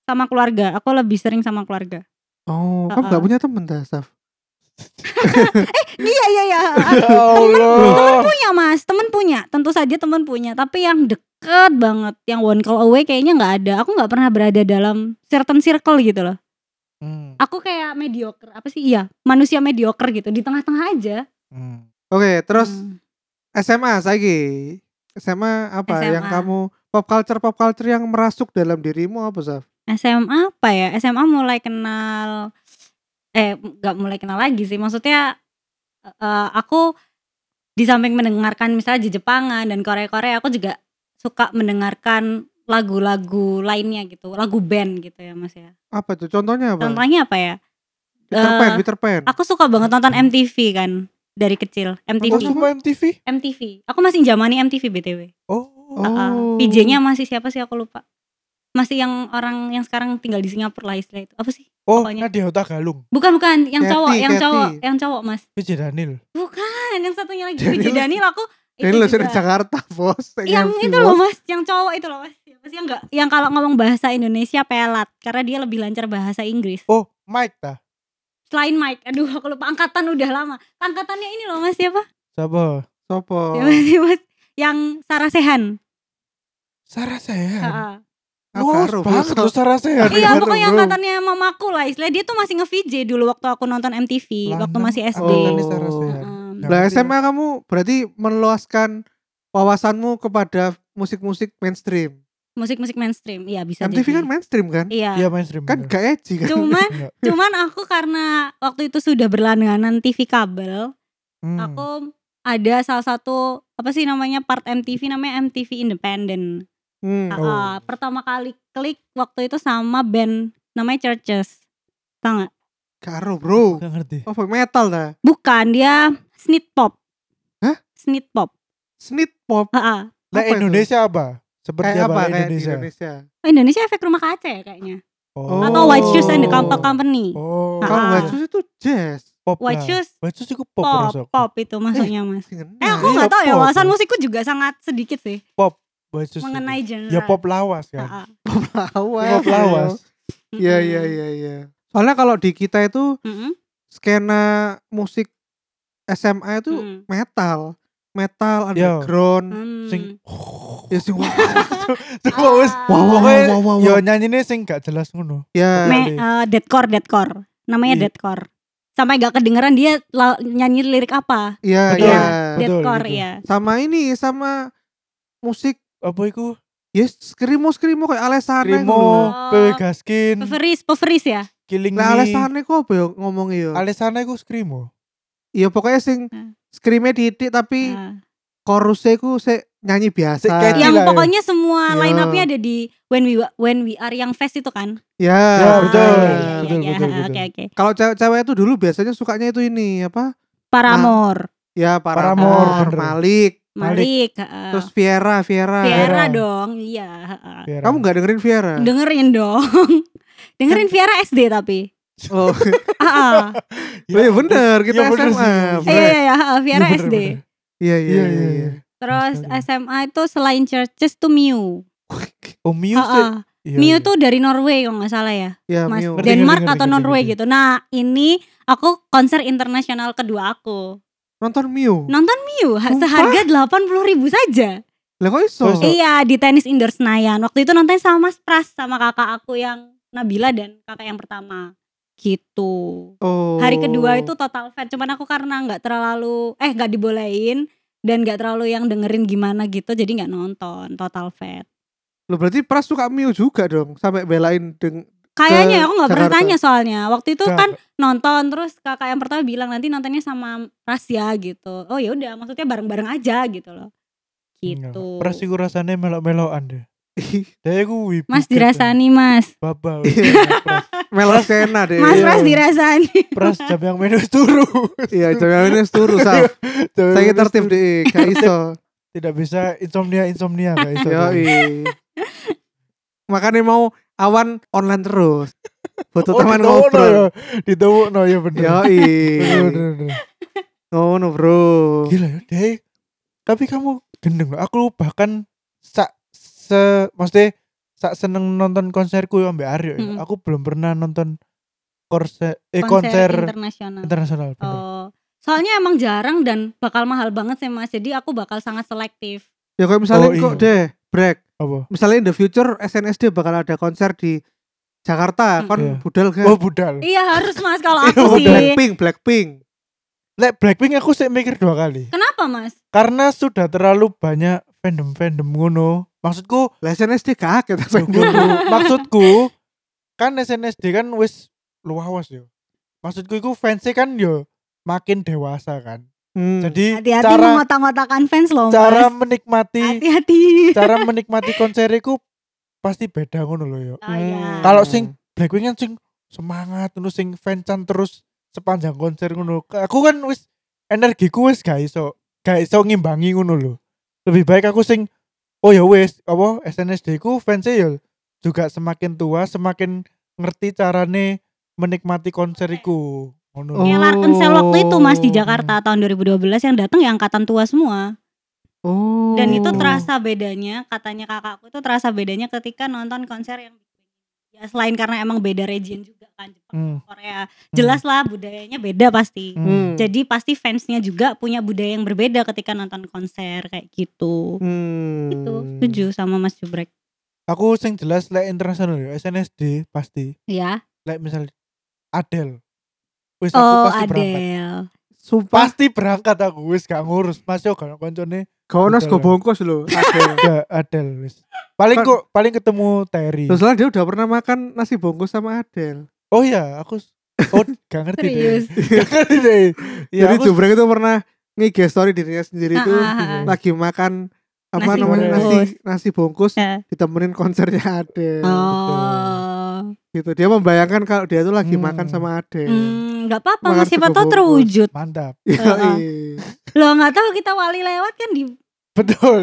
Speaker 3: sama keluarga. Aku lebih sering sama
Speaker 1: *laughs*
Speaker 3: keluarga.
Speaker 1: Oh, kamu nggak
Speaker 3: Uh-uh.
Speaker 1: punya temen dah, Saf.
Speaker 3: Iya, iya, iya.
Speaker 2: Ya
Speaker 3: *laughs*
Speaker 2: Allah.
Speaker 3: punya, Mas. Temen punya. Tentu saja temen punya, tapi yang deket banget yang one call away kayaknya nggak ada. Aku nggak pernah berada dalam certain circle gitu loh.
Speaker 2: Hmm,
Speaker 3: Aku kayak mediocre. Apa sih? Iya, manusia mediocre gitu. Di tengah-tengah aja.
Speaker 2: hmm.
Speaker 1: Oke, terus
Speaker 3: Hmm.
Speaker 1: SMA saiki. SMA apa
Speaker 3: SMA.
Speaker 1: yang kamu pop culture pop culture yang merasuk dalam dirimu apa, Saf?
Speaker 3: SMA apa ya? SMA mulai kenal eh nggak mulai kenal lagi sih. Maksudnya eh, aku di samping mendengarkan misalnya di Jepangan dan Korea-Korea aku juga suka mendengarkan lagu-lagu lainnya gitu, lagu band gitu ya Mas ya.
Speaker 1: Apa tuh contohnya apa? ya?
Speaker 3: Contohnya apa ya?
Speaker 1: Peter
Speaker 3: eh,
Speaker 1: Pan, Peter Pan.
Speaker 3: Aku suka banget nonton MTV kan dari kecil,
Speaker 2: Oh,
Speaker 3: MTV.
Speaker 2: cuma MTV?
Speaker 3: MTV. Aku masih zamani MTV BTW.
Speaker 2: Oh.
Speaker 3: Ah,
Speaker 1: Oh.
Speaker 3: PJ-nya masih siapa sih aku lupa. Masih yang orang yang sekarang tinggal di Singapura lah istilah itu. Apa sih?
Speaker 2: Oh,
Speaker 3: pokoknya.
Speaker 2: Nadia Huta Galung.
Speaker 3: Bukan bukan yang
Speaker 1: Cathy,
Speaker 3: cowok, yang
Speaker 1: Cathy.
Speaker 3: cowok, yang cowok Mas.
Speaker 2: PJ Daniel.
Speaker 3: Bukan, yang satunya lagi
Speaker 1: Daniel.
Speaker 3: Puji Daniel aku
Speaker 1: Ini lo sering
Speaker 3: juga.
Speaker 1: di Jakarta, *laughs* Bos.
Speaker 3: Yang
Speaker 1: Yang
Speaker 3: itu loh Mas, yang cowok itu loh Mas. Siapa sih yang enggak yang kalau ngomong bahasa Indonesia pelat karena dia lebih lancar bahasa Inggris.
Speaker 2: Oh, Mike ta.
Speaker 3: Selain Mike, aduh aku lupa angkatan udah lama. Angkatannya ini loh Mas siapa?
Speaker 2: Siapa?
Speaker 1: Sopo?
Speaker 2: Oh.
Speaker 3: Siapa sih Mas? Yang Sarah Sehan.
Speaker 2: Sarah Sehan.
Speaker 3: Ha-ha.
Speaker 2: Luas
Speaker 1: Apa,
Speaker 2: banget
Speaker 1: Ruf?
Speaker 2: loh Sarah Sehan.
Speaker 1: Tapi
Speaker 3: Ah, Iya
Speaker 1: baru,
Speaker 3: pokoknya
Speaker 1: bro.
Speaker 3: angkatannya mamaku lah Istilah dia tuh masih nge-VJ dulu waktu aku nonton MTV Waktu
Speaker 2: Lanang.
Speaker 3: masih SD
Speaker 2: Oh, Ya. ini Sarah Sehan.
Speaker 3: Heeh.
Speaker 2: Nggak
Speaker 1: Lah
Speaker 2: ngerti
Speaker 1: SMA kamu berarti meluaskan wawasanmu kepada musik-musik mainstream.
Speaker 3: Musik-musik mainstream Iya bisa
Speaker 1: MTV
Speaker 3: jadi.
Speaker 1: kan mainstream kan?
Speaker 3: Iya
Speaker 2: Iya mainstream.
Speaker 1: Kan
Speaker 2: bener.
Speaker 1: gak edgy kan?
Speaker 3: Cuman
Speaker 2: *laughs* Iya.
Speaker 3: cuman aku karena waktu itu sudah berlangganan TV kabel,
Speaker 2: Hmm.
Speaker 3: aku ada salah satu apa sih namanya part MTV namanya MTV
Speaker 1: *laughs*
Speaker 3: Independent.
Speaker 1: Hmm.
Speaker 3: Ah,
Speaker 2: Oh.
Speaker 3: ah, pertama kali klik waktu itu sama band namanya Churches. Tau gak?
Speaker 1: Karo bro.
Speaker 2: Nggak ngerti.
Speaker 1: Oh, folk metal dah.
Speaker 3: Bukan dia snit pop.
Speaker 1: Hah?
Speaker 3: Snit pop.
Speaker 1: Snit pop.
Speaker 3: Ah, ah.
Speaker 1: Apa
Speaker 2: Nah,
Speaker 1: itu?
Speaker 2: Indonesia apa? Seperti
Speaker 1: kayak
Speaker 2: apa,
Speaker 1: apa
Speaker 2: lah
Speaker 1: kayak di
Speaker 2: Indonesia?
Speaker 1: Indonesia?
Speaker 3: Oh, Indonesia efek rumah kaca ya kayaknya.
Speaker 2: Oh.
Speaker 3: Atau White Shoes and the
Speaker 1: Compa
Speaker 3: Compa Company.
Speaker 2: Oh.
Speaker 1: Kalau
Speaker 3: Ah.
Speaker 1: nggak Shoes itu jazz.
Speaker 2: Pop lah.
Speaker 3: White Shoes
Speaker 2: White Shoes itu Nah, pop,
Speaker 3: Pop,
Speaker 2: rasaku.
Speaker 3: pop itu maksudnya mas.
Speaker 1: Singen-
Speaker 3: Eh aku
Speaker 2: Iya,
Speaker 3: nggak tahu ya
Speaker 2: pop.
Speaker 3: wawasan musikku juga sangat sedikit sih
Speaker 2: White Shoes itu.
Speaker 3: mengenai genre.
Speaker 2: Ya pop lawas
Speaker 3: Ah,
Speaker 2: kan.
Speaker 3: ah.
Speaker 1: Pop lawas.
Speaker 2: Pop
Speaker 3: *laughs*
Speaker 2: lawas.
Speaker 1: Iya iya iya iya. Soalnya kalau di kita itu
Speaker 3: Mm-mm.
Speaker 1: skena musik SMA itu
Speaker 3: Mm-mm.
Speaker 1: metal, metal
Speaker 2: Yo.
Speaker 1: underground.
Speaker 3: Mm.
Speaker 2: Sing
Speaker 1: Ya sih
Speaker 2: *laughs*
Speaker 1: wah
Speaker 2: Cuma wis
Speaker 3: Ah.
Speaker 1: wah wah
Speaker 2: Pokoknya
Speaker 1: wah wah.
Speaker 2: yo
Speaker 1: wah.
Speaker 2: nyanyinya sing gak jelas ngono.
Speaker 1: Ya.
Speaker 3: Me- eh, deadcore deadcore. Namanya
Speaker 2: Iya.
Speaker 3: deadcore. Sampai gak kedengeran dia la- nyanyi lirik apa.
Speaker 1: Iya
Speaker 2: Betul.
Speaker 1: iya.
Speaker 2: Betul,
Speaker 3: deadcore
Speaker 2: gitu.
Speaker 3: ya.
Speaker 1: Sama ini sama musik
Speaker 2: Apa iku?
Speaker 1: ya skrimo skrimo kayak Alessane
Speaker 2: Krimo,
Speaker 1: ngono.
Speaker 3: Oh.
Speaker 2: Pewe Gaskin,
Speaker 3: Peveris, peveris ya.
Speaker 2: Killing
Speaker 1: Lah
Speaker 2: Me.
Speaker 1: Alessane kok apa ya ngomongnya ya?
Speaker 2: Alesana iku Krimo.
Speaker 1: Ya pokoknya sing
Speaker 3: Hmm.
Speaker 2: Iya.
Speaker 1: skrime titik tapi
Speaker 3: Ah.
Speaker 1: chorusnya ku sik nyanyi biasa.
Speaker 2: Kayak
Speaker 3: yang
Speaker 2: Gila ya.
Speaker 3: pokoknya semua
Speaker 1: Iya.
Speaker 3: line up-nya ada di When We Wa- When We Are yang fest itu kan.
Speaker 1: Ya,
Speaker 2: Ya,
Speaker 3: Ah,
Speaker 2: betul,
Speaker 3: iya, iya,
Speaker 2: betul,
Speaker 3: iya.
Speaker 2: betul,
Speaker 3: Ah,
Speaker 2: betul.
Speaker 3: Oke oke.
Speaker 1: Kalau cewek-cewek itu dulu biasanya sukanya itu ini apa?
Speaker 3: Paramore,
Speaker 2: Nah,
Speaker 1: Ya para
Speaker 2: Paramore, bener.
Speaker 1: Malik,
Speaker 3: Malik, ah,
Speaker 1: terus Viera, Viera.
Speaker 3: Viera
Speaker 2: Viera.
Speaker 3: dong. Iya, ah.
Speaker 2: Biar-
Speaker 1: Kamu nggak dengerin
Speaker 2: Iya.
Speaker 1: Viera?
Speaker 3: Dengerin dong. *laughs* Dengerin
Speaker 2: Kan
Speaker 3: Viera SD
Speaker 2: *laughs*
Speaker 3: tapi.
Speaker 1: oh, *laughs*
Speaker 3: Ah, ah.
Speaker 1: iya bener, kita
Speaker 2: Iya, Ya, bener sih.
Speaker 1: SMA.
Speaker 3: Iya
Speaker 1: bener.
Speaker 3: iya iya, ah, Viera
Speaker 2: Bener,
Speaker 3: SD.
Speaker 2: bener.
Speaker 1: Iya, iya,
Speaker 2: Iya, iya,
Speaker 3: Ah,
Speaker 2: iya.
Speaker 3: Terus
Speaker 2: Astaga.
Speaker 3: SMA itu selain Churches tuh Mew.
Speaker 2: Oh, Miu
Speaker 3: Ah,
Speaker 2: sih.
Speaker 3: ah.
Speaker 2: Iya,
Speaker 3: Mew
Speaker 2: iya.
Speaker 3: tuh dari Norway kalau nggak salah ya.
Speaker 1: Ya,
Speaker 3: Mas
Speaker 1: Miu.
Speaker 2: Dan-
Speaker 3: Denmark
Speaker 2: ngerti,
Speaker 3: atau
Speaker 2: ngerti,
Speaker 3: Norway
Speaker 2: ngerti.
Speaker 3: gitu. Nah, ini aku konser internasional kedua aku.
Speaker 1: Nonton Miu.
Speaker 3: Nonton Mew ha-
Speaker 1: Sumpah? Oh,
Speaker 3: seharga 80.000 saja.
Speaker 1: Lah kok iso?
Speaker 2: Terus-
Speaker 3: Iya, di tenis indoor Senayan. Waktu itu nonton sama Mas Pras sama kakak aku yang Nabila dan kakak yang pertama. Gitu.
Speaker 1: Oh.
Speaker 3: Hari kedua itu total fan, cuman aku karena nggak terlalu eh nggak dibolehin dan nggak terlalu yang dengerin gimana gitu jadi nggak nonton total fat
Speaker 1: Lo berarti Pras suka Miu juga dong, sampai belain deng *laughs*
Speaker 3: kayaknya ya, aku nggak pernah
Speaker 1: Jakarta.
Speaker 3: tanya soalnya waktu itu
Speaker 2: Gak-
Speaker 3: kan nonton terus kakak yang pertama bilang nanti nontonnya sama Rasya gitu oh ya udah maksudnya bareng-bareng aja gitu loh
Speaker 1: Iya,
Speaker 2: Enggak,
Speaker 3: gitu
Speaker 2: Pras iku rasane melok-melokan deh. Daya iku wibu
Speaker 3: Mas
Speaker 2: gitu.
Speaker 3: dirasani mas
Speaker 2: Baba.
Speaker 1: *laughs* Iya.
Speaker 2: wih, Pras.
Speaker 1: Melas Kena deh.
Speaker 3: Mas
Speaker 2: Iya.
Speaker 3: Pras dirasani
Speaker 2: Pras jam yang minus turu.
Speaker 1: Iya, jangan ini turu
Speaker 2: *laughs*
Speaker 1: sal.
Speaker 2: Jam yang
Speaker 1: Saya
Speaker 2: minus
Speaker 1: tertib
Speaker 2: turu.
Speaker 1: deh, gak iso.
Speaker 2: Tidak bisa insomnia insomnia
Speaker 1: *laughs*
Speaker 2: gak iso. Oh,
Speaker 1: Yo, iya. Makanya mau awan online terus. Butuh
Speaker 2: Oh,
Speaker 1: teman
Speaker 2: ya?
Speaker 1: ngobrol.
Speaker 2: Di no ya bener.
Speaker 1: Yo, iya.
Speaker 2: Bener, bener, bener.
Speaker 1: ngono bro.
Speaker 2: Gila ya, Dey. Tapi kamu gendeng loh. Aku bahkan sak se maksudnya sak seneng nonton konserku ya Mbak Aryo. ya.
Speaker 3: Mm.
Speaker 2: Aku belum pernah nonton konser eh
Speaker 3: konser
Speaker 2: konser,
Speaker 3: internasional
Speaker 2: internasional. bener.
Speaker 3: oh soalnya emang jarang dan bakal mahal banget sih mas jadi aku bakal sangat selektif
Speaker 1: Ya kayak misalnya
Speaker 2: Oh, iya.
Speaker 1: kok deh, break.
Speaker 2: Apa?
Speaker 1: Misalnya in the future SNSD bakal ada konser di Jakarta,
Speaker 3: Hmm.
Speaker 1: kan
Speaker 2: Iya.
Speaker 1: budal kan.
Speaker 2: Oh budal.
Speaker 3: iya harus mas
Speaker 2: *laughs*
Speaker 3: kalau
Speaker 1: Iya,
Speaker 3: aku sih
Speaker 1: Blackpink, Blackpink.
Speaker 2: Lek Blackpink aku sih mikir dua kali.
Speaker 3: kenapa mas
Speaker 2: Karena sudah terlalu banyak fandom-fandom ngono. Maksudku,
Speaker 1: Lah SNSD kaget apa
Speaker 2: maksudku, maksudku kan SNSD kan wis luawas yo. Maksudku itu fansnya kan yo makin dewasa kan.
Speaker 1: Hmm.
Speaker 2: Jadi
Speaker 3: hati-hati
Speaker 2: cara
Speaker 3: mengotak-ngotakan fans loh mas
Speaker 2: cara menikmati
Speaker 3: hati-hati
Speaker 2: cara menikmati konser iku pasti beda ngono loh yo.
Speaker 3: *laughs* Oh, iya.
Speaker 2: Kalau sing- Blackpink kan sing semangat terus sing fancan terus sepanjang konser ngono. Aku kan wis energiku wis gak iso gak iso ngimbangi ngono lho. Lebih baik aku sing oh ya wis apa SNSD ku fansnya ya juga semakin tua semakin ngerti carane menikmati konseriku ngono.
Speaker 1: Oh.
Speaker 2: lho.
Speaker 3: Kayak Larkensel waktu itu mas di Jakarta tahun 2012 yang datang ya angkatan tua semua
Speaker 1: Oh.
Speaker 3: dan itu
Speaker 2: Oh.
Speaker 3: terasa bedanya katanya kakakku itu terasa bedanya ketika nonton konser yang ya selain karena emang beda region juga kan
Speaker 2: Hmm,
Speaker 3: Jepang Korea jelas lah budayanya beda pasti
Speaker 2: hmm.
Speaker 3: jadi pasti fansnya juga punya budaya yang berbeda ketika nonton konser kayak gitu
Speaker 1: Hmm.
Speaker 3: itu setuju sama Mas Jubrek
Speaker 2: Aku sing jelas lek internasional ya, yo SNSD pasti.
Speaker 3: ya
Speaker 2: Lek misal Adele. Wis aku
Speaker 3: oh
Speaker 2: pasti berangkat.
Speaker 3: Adele
Speaker 1: Sumpah
Speaker 2: Pasti berangkat aku wis gak ngurus. Mas yo gak koncone
Speaker 1: Kau nas
Speaker 2: Betul.
Speaker 1: gue bongkos loh. Adele.
Speaker 2: Ya Adele wis. Paling
Speaker 1: Kan-
Speaker 2: kok paling ketemu Terry.
Speaker 1: Terus lah dia udah pernah makan nasi bongkos sama Adele.
Speaker 2: oh iya, aku s- oh gak ngerti deh. *laughs*
Speaker 3: serius
Speaker 1: *laughs*
Speaker 2: Gak ngerti deh. Ya,
Speaker 1: Jadi
Speaker 2: Iya. aku s-
Speaker 1: Jubrek itu pernah nge story dirinya sendiri itu
Speaker 3: Ah, ah, ah.
Speaker 1: lagi makan apa
Speaker 3: Nasi
Speaker 1: namanya
Speaker 3: bungkus.
Speaker 1: nasi nasi bungkus
Speaker 3: Ya.
Speaker 1: ditemenin konsernya Adele
Speaker 3: oh
Speaker 1: gitu. Dia membayangkan kalau dia tuh lagi
Speaker 2: Hmm.
Speaker 1: makan sama Adele. Iya,
Speaker 3: Hmm, nggak apa-apa
Speaker 1: Makan
Speaker 3: mas siapa
Speaker 1: sego
Speaker 3: tahu
Speaker 1: bungkus.
Speaker 3: terwujud
Speaker 2: mantap.
Speaker 1: Yoi.
Speaker 3: Ah, ah. Loh nggak tahu kita wali lewat kan di
Speaker 2: Betul.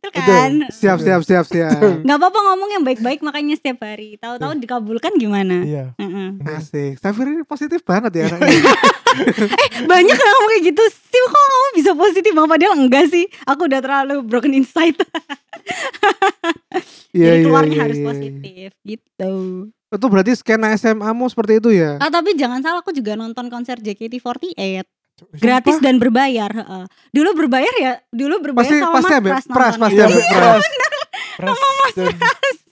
Speaker 3: Betul kan?
Speaker 1: Siap siap siap siap.
Speaker 3: Nggak apa-apa ngomong yang baik-baik makanya setiap hari. Tahu-tahu dikabulkan gimana?
Speaker 2: Iya.
Speaker 3: Heeh.
Speaker 1: Asik. Safir ini positif banget ya
Speaker 2: *laughs*
Speaker 1: anaknya.
Speaker 3: Banyak yang ngomong kayak gitu sih kok kamu bisa positif banget padahal enggak sih. Aku udah terlalu broken insight.
Speaker 1: Iya,
Speaker 3: *laughs* Jadi
Speaker 1: iya,
Speaker 3: keluarnya
Speaker 1: iya,
Speaker 3: harus
Speaker 1: iya.
Speaker 3: positif gitu.
Speaker 1: Itu berarti skena SMA-mu seperti itu ya?
Speaker 3: Ah tapi jangan salah aku juga nonton konser JKT48 gratis
Speaker 1: Sumpah.
Speaker 3: dan berbayar, heeh. Dulu berbayar ya, dulu berbayar
Speaker 1: Pasti
Speaker 3: sama
Speaker 1: pasti
Speaker 3: Mas
Speaker 1: ambek
Speaker 3: Pras
Speaker 1: pras
Speaker 3: nonton
Speaker 1: pasti
Speaker 3: ya.
Speaker 2: Iya,
Speaker 1: ambek
Speaker 2: bener.
Speaker 1: pras.
Speaker 2: Pras dan-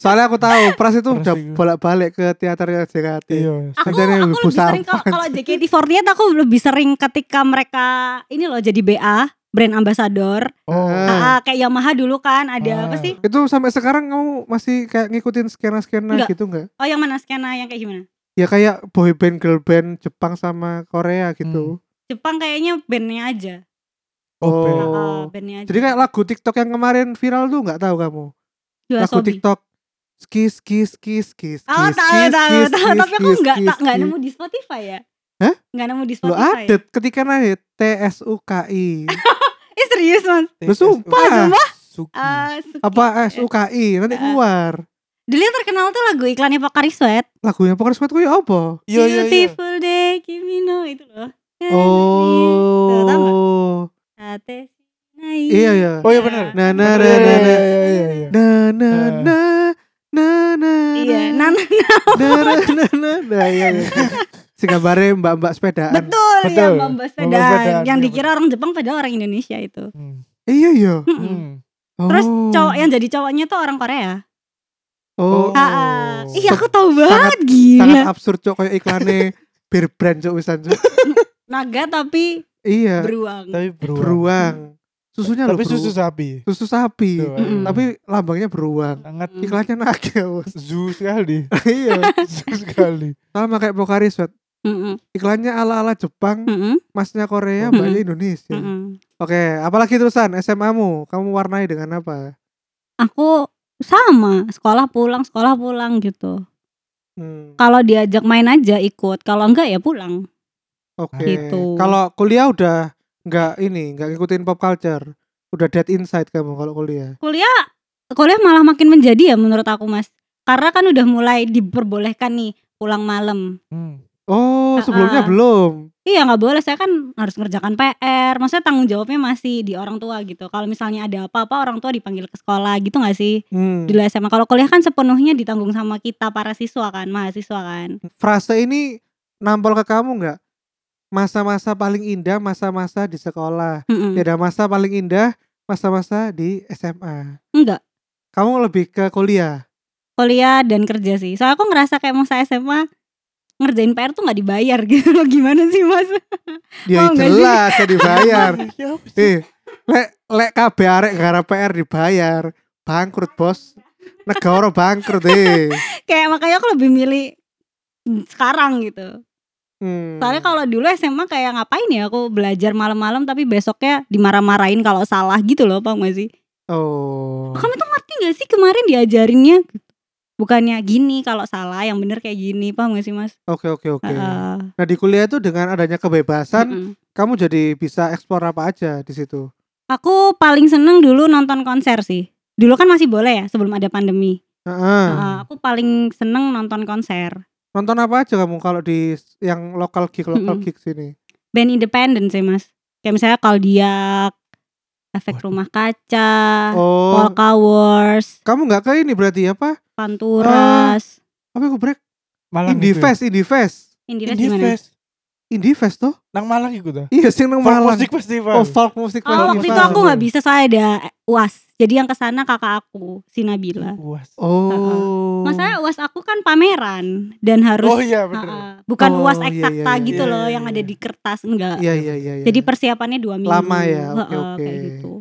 Speaker 1: Soalnya aku tahu Pras itu
Speaker 2: Pras
Speaker 1: udah
Speaker 2: itu.
Speaker 1: bolak-balik ke teaternya JKT.
Speaker 2: Iya.
Speaker 3: Aku,
Speaker 1: Kerjanya
Speaker 3: aku
Speaker 1: ibu
Speaker 3: lebih sering kalau kalau JKT48 aku lebih sering ketika mereka ini loh jadi BA brand ambassador
Speaker 2: Oh.
Speaker 1: Ah.
Speaker 3: Ah, kayak Yamaha dulu kan ada
Speaker 2: Ah.
Speaker 3: apa sih?
Speaker 1: Itu sampai sekarang kamu masih kayak ngikutin skena-skena
Speaker 3: Enggak.
Speaker 1: gitu enggak?
Speaker 3: Oh yang mana skena yang kayak gimana?
Speaker 1: Ya kayak boy
Speaker 3: Hmm.
Speaker 1: band girl band Jepang sama Korea gitu.
Speaker 3: Jepang kayaknya bandnya aja.
Speaker 2: Oh, band.
Speaker 1: Oh.
Speaker 3: bandnya
Speaker 1: Jadi kayak lagu TikTok yang kemarin viral tuh nggak tahu kamu?
Speaker 3: Jua
Speaker 1: Lagu
Speaker 3: Sobi.
Speaker 1: TikTok skis skis skis skis.
Speaker 3: Oh
Speaker 1: skis,
Speaker 3: tahu
Speaker 1: skis,
Speaker 3: tahu
Speaker 1: skis,
Speaker 3: tahu
Speaker 1: skis,
Speaker 3: tapi aku
Speaker 1: skis,
Speaker 3: nggak
Speaker 1: skis,
Speaker 3: tak nggak
Speaker 1: skis.
Speaker 3: nemu di Spotify ya.
Speaker 1: Hah?
Speaker 3: Nggak nemu di
Speaker 1: Lo
Speaker 3: Spotify. ya?
Speaker 1: ada ketika nanya T S U K
Speaker 3: *laughs*
Speaker 1: I.
Speaker 3: Eh serius mas?
Speaker 1: Lo
Speaker 3: Oh,
Speaker 1: sumpah
Speaker 3: sumpah?
Speaker 2: Suki.
Speaker 3: Ah, Suki.
Speaker 1: Hmm. apa eh, S U K I nanti
Speaker 3: Ah.
Speaker 1: keluar.
Speaker 3: Dulu yang terkenal tuh lagu iklannya Pak Kari Sweat.
Speaker 1: Lagunya Poker Squad ku ya apa?
Speaker 2: Iya iya iya.
Speaker 3: Beautiful day, kimi no itu loh. Tuh, Eh, iya. tahu nggak?
Speaker 1: Oh.
Speaker 3: Ate
Speaker 1: Iya iya.
Speaker 2: Oh iya benar.
Speaker 1: Na na
Speaker 2: Bener,
Speaker 1: na
Speaker 2: iya,
Speaker 1: na na
Speaker 2: iya, iya, iya, iya.
Speaker 1: na na na na na.
Speaker 3: Iya,
Speaker 1: na na na
Speaker 3: nan
Speaker 1: na na. Iya, iya. Si gambarnya mbak-mbak sepedaan.
Speaker 3: betul,
Speaker 2: Betul.
Speaker 3: yang Bambas
Speaker 2: Bambas Pedang,
Speaker 3: Pedang. Yang
Speaker 2: iya,
Speaker 3: dikira orang Jepang padahal orang Indonesia itu.
Speaker 2: Hmm.
Speaker 1: Iya iya.
Speaker 3: Mm-mm.
Speaker 2: Hmm.
Speaker 3: Terus
Speaker 1: Oh.
Speaker 3: cowok yang jadi cowoknya tuh orang Korea.
Speaker 1: Oh.
Speaker 2: Oh.
Speaker 3: Ah, Iya
Speaker 1: Sangat-
Speaker 3: aku tahu banget gila.
Speaker 1: sangat absurd cok kayak iklannya bir brand cok wisan cok
Speaker 3: Naga tapi
Speaker 1: iya
Speaker 3: beruang.
Speaker 2: Tapi beruang.
Speaker 1: beruang susunya loh
Speaker 2: Tapi
Speaker 1: beru-
Speaker 2: susu Iya. sapi.
Speaker 1: susu sapi
Speaker 2: Tuh,
Speaker 3: Mm-mm.
Speaker 1: tapi lambangnya beruang
Speaker 2: Sangat
Speaker 3: Mm.
Speaker 1: iklannya naga bos.
Speaker 2: zoo
Speaker 3: *laughs*
Speaker 2: sekali.
Speaker 1: *laughs* iya
Speaker 2: zoo sekali.
Speaker 1: sama kayak Pokari Sweat
Speaker 3: Mm-mm,
Speaker 1: iklannya ala ala Jepang
Speaker 3: mm-mm,
Speaker 1: masnya Korea
Speaker 2: Mm-mm.
Speaker 1: mbaknya Indonesia
Speaker 3: mm-mm.
Speaker 1: oke apalagi terusan SMA mu kamu warnai dengan apa
Speaker 3: Aku sama sekolah pulang sekolah pulang gitu.
Speaker 1: Hmm,
Speaker 3: Kalau diajak main aja ikut. Kalau enggak ya pulang.
Speaker 1: oke
Speaker 3: gitu.
Speaker 1: kalau kuliah udah nggak ini nggak ngikutin pop culture udah dead inside kamu kalau kuliah
Speaker 3: Kuliah kuliah malah makin menjadi ya menurut aku mas. Karena kan udah mulai diperbolehkan nih pulang malam.
Speaker 2: Hmm.
Speaker 1: oh sebelumnya
Speaker 3: Ah-ah.
Speaker 1: belum
Speaker 3: Iya nggak boleh saya kan harus ngerjakan PR. Maksudnya tanggung jawabnya masih di orang tua gitu. Kalau misalnya ada apa-apa orang tua dipanggil ke sekolah gitu nggak sih?
Speaker 1: Hmm.
Speaker 3: Dulu SMA kalau kuliah kan sepenuhnya ditanggung sama kita para siswa kan, mahasiswa kan.
Speaker 1: frase ini nampol ke kamu nggak? Masa-masa paling indah, masa-masa di sekolah.
Speaker 3: Mm-mm.
Speaker 1: Tidak masa paling indah, masa-masa di SMA.
Speaker 3: Enggak.
Speaker 1: Kamu lebih ke kuliah.
Speaker 3: kuliah dan kerja sih. Soalnya aku ngerasa kayak masa SMA ngerjain PR tuh nggak dibayar *laughs* gitu loh. Gimana sih mas?
Speaker 1: Ya
Speaker 3: Oh, nggak sih?
Speaker 1: jelas ya
Speaker 3: *laughs*
Speaker 1: dibayar.
Speaker 2: Iya, apa sih?
Speaker 1: eh, lek lek kabeh arek gara PR dibayar. Bangkrut, Bos. Negara bangkrut eh.
Speaker 3: kayak makanya aku lebih milih sekarang gitu.
Speaker 1: Hmm.
Speaker 3: Soalnya kalau dulu SMA kayak ngapain ya aku belajar malam-malam tapi besoknya dimarah-marahin kalau salah gitu loh, paham gak sih?
Speaker 1: Oh.
Speaker 3: Kamu tuh ngerti gak sih kemarin diajarinnya? Gitu. Bukannya gini kalau salah yang bener kayak gini, paham gak sih mas?
Speaker 1: Oke, oke, oke.
Speaker 3: Heeh.
Speaker 1: Nah, di kuliah itu dengan adanya kebebasan,
Speaker 3: Mm-mm.
Speaker 1: kamu jadi bisa eksplor apa aja di situ.
Speaker 3: Aku paling seneng dulu nonton konser sih. Dulu kan masih boleh ya sebelum ada pandemi.
Speaker 1: Heeh.
Speaker 3: Heeh, aku paling seneng nonton konser
Speaker 1: Nonton apa aja kamu kalau di s- yang lokal gig lokal
Speaker 3: Mm-mm.
Speaker 1: gig sini?
Speaker 3: band independen sih mas kayak misalnya Kaldiak Efek
Speaker 2: Waduh.
Speaker 3: Rumah Kaca
Speaker 1: Oh,
Speaker 3: Polka Wars
Speaker 1: kamu nggak ke ini berarti apa?
Speaker 3: Panturas
Speaker 1: Apa aku break?
Speaker 2: Malang
Speaker 1: Indie
Speaker 2: itu ya?
Speaker 1: Fest, Indie Fest.
Speaker 3: Indie Fest
Speaker 2: Indie
Speaker 3: gimana?
Speaker 2: Fest.
Speaker 1: Indie Fest tuh?
Speaker 2: Nang Malang ah. iku ta?
Speaker 1: *laughs* Iya, sing nang
Speaker 2: Folk
Speaker 1: Malang.
Speaker 2: Music Festival.
Speaker 1: Oh, folk music
Speaker 3: Oh waktu itu
Speaker 1: festival.
Speaker 3: aku nggak bisa saya ada uas jadi yang kesana kakak aku si Nabila
Speaker 2: Puas.
Speaker 1: Oh.
Speaker 3: masalahnya uas aku kan pameran dan harus
Speaker 2: Oh iya bener.
Speaker 3: Heeh, bukan
Speaker 1: Oh,
Speaker 3: uas
Speaker 1: iya, iya,
Speaker 3: eksakta
Speaker 1: iya,
Speaker 3: gitu
Speaker 2: iya,
Speaker 3: loh
Speaker 2: iya,
Speaker 3: yang
Speaker 2: iya.
Speaker 3: ada di kertas enggak
Speaker 1: Iya iya iya. iya.
Speaker 3: jadi persiapannya dua minggu
Speaker 1: Lama ya, oke,
Speaker 3: Heeh,
Speaker 1: oke.
Speaker 3: kayak gitu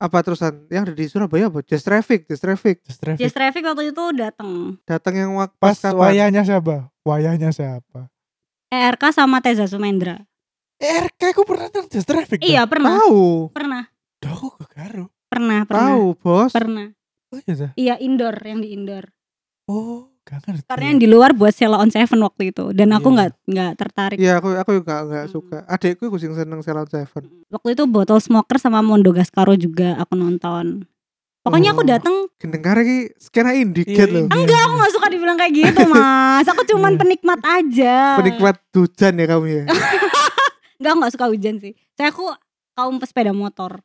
Speaker 1: apa terusan? Yang ada di Surabaya apa? Just Traffic, Just Traffic.
Speaker 2: Just Traffic.
Speaker 3: Just Traffic waktu itu datang
Speaker 1: Datang yang waktu
Speaker 2: Pas wayahnya siapa? Wayahnya siapa?
Speaker 3: ERK E sama Teza Sumendra.
Speaker 2: RK Eh, aku pernah nang Just Traffic. dah.
Speaker 3: Iya pernah,
Speaker 1: Tahu,
Speaker 3: pernah,
Speaker 2: Duh, aku kegaro.
Speaker 3: pernah, pernah,
Speaker 1: tahu bos.
Speaker 3: pernah.
Speaker 2: Oh iya dah.
Speaker 3: Iya indoor yang di indoor.
Speaker 2: Oh, gak ngerti.
Speaker 3: Karena yang
Speaker 1: Iya.
Speaker 3: di luar buat Sela on Seven waktu itu dan aku
Speaker 2: Iya.
Speaker 3: nggak nggak tertarik.
Speaker 1: Iya aku aku nggak nggak
Speaker 3: Hmm.
Speaker 1: suka. Adikku gue sing seneng Salon Seven.
Speaker 3: Waktu itu Bottle Smoker sama Mondo Gascaro juga aku nonton. Pokoknya aku
Speaker 1: Oh.
Speaker 3: datang,
Speaker 1: Gendeng karek iki skena indie
Speaker 2: Iya,
Speaker 1: gitu loh.
Speaker 2: indie.
Speaker 3: enggak aku nggak suka dibilang kayak
Speaker 1: *laughs*
Speaker 3: gitu mas. Aku cuman
Speaker 2: Iya.
Speaker 3: penikmat aja.
Speaker 1: Penikmat hujan ya kamu ya.
Speaker 3: Enggak aku nggak suka hujan sih. Saya aku kaum pesepeda motor.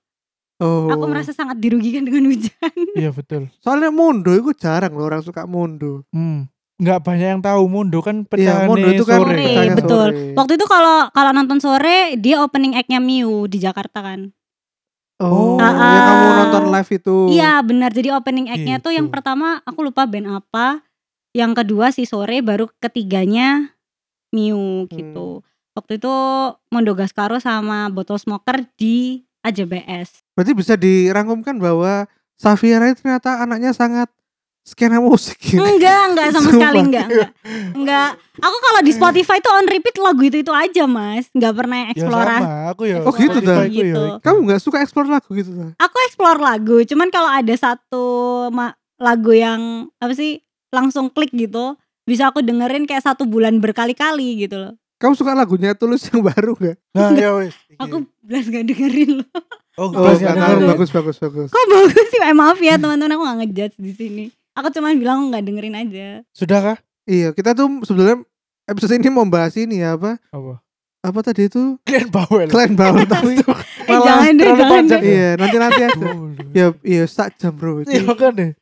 Speaker 1: Oh.
Speaker 3: *laughs* Aku merasa sangat dirugikan dengan *laughs* hujan.
Speaker 2: Iya betul.
Speaker 1: Soalnya Mondo itu jarang loh orang suka Mondo.
Speaker 2: Hmm. Nggak banyak yang tahu Mundo
Speaker 1: Iya,
Speaker 2: kan pecahan
Speaker 1: Mondo itu kan
Speaker 2: sore.
Speaker 3: Sore,
Speaker 1: pecahnya
Speaker 3: betul.
Speaker 1: sore.
Speaker 2: Iya.
Speaker 3: Waktu itu kalau kalau nonton sore dia opening act-nya Miu di Jakarta kan.
Speaker 1: Oh,
Speaker 3: Ah,
Speaker 1: yang
Speaker 3: ah.
Speaker 1: kamu nonton live itu.
Speaker 3: Iya benar. Jadi opening act-nya tuh yang
Speaker 2: Oh. Gitu.
Speaker 3: pertama aku lupa band apa, yang kedua si sore, baru ketiganya
Speaker 2: Hmm.
Speaker 3: Miu gitu. Waktu itu Mondo Gascaro sama Bottle Smoker di AJBS.
Speaker 2: *laughs*
Speaker 1: Berarti bisa dirangkumkan bahwa Safira itu ternyata anaknya sangat skena musik ya.
Speaker 3: Enggak, enggak sama
Speaker 1: Sumpah.
Speaker 3: sekali enggak, enggak. Enggak. Aku kalau di Spotify tuh on repeat lagu itu-itu aja, Mas. Enggak pernah
Speaker 2: Eh. Ya
Speaker 3: eksplorasi.
Speaker 2: sama aku ya.
Speaker 1: Oh, gitu,
Speaker 2: Spotify
Speaker 1: Dan.
Speaker 2: ku ya.
Speaker 3: Gitu.
Speaker 1: *laughs* Kamu nggak suka explore lagu gitu Sa?
Speaker 3: Aku explore lagu, cuman kalau ada satu ma- lagu yang apa sih langsung klik gitu, bisa aku dengerin kayak satu bulan berkali-kali gitu loh.
Speaker 1: Kamu suka lagunya tulus yang baru nggak?
Speaker 2: Nah, ya wes. Iki.
Speaker 3: Aku
Speaker 1: Iya.
Speaker 3: belas gak dengerin loh. *laughs*
Speaker 1: Oh,
Speaker 2: oh, belas
Speaker 1: nggak
Speaker 2: yang
Speaker 1: tahu.
Speaker 2: baru.
Speaker 1: bagus bagus bagus.
Speaker 3: Kok bagus sih? Eh, maaf ya teman-teman, aku gak ngejudge di sini. Aku cuman bilang aku gak dengerin aja.
Speaker 2: Sudahkah?
Speaker 1: Iya, kita tuh sebenarnya episode ini mau bahas ini ya apa?
Speaker 2: Apa?
Speaker 1: Apa tadi itu?
Speaker 2: Kalian bawel.
Speaker 1: Klien Bauer tapi
Speaker 3: *laughs* Eh, jangan deh,
Speaker 2: terlalu
Speaker 3: jangan
Speaker 2: panjang.
Speaker 3: deh.
Speaker 1: iya, nanti nanti aja.
Speaker 2: Ya,
Speaker 1: ya, iya, sak jam bro. Iki,
Speaker 2: iya kan deh.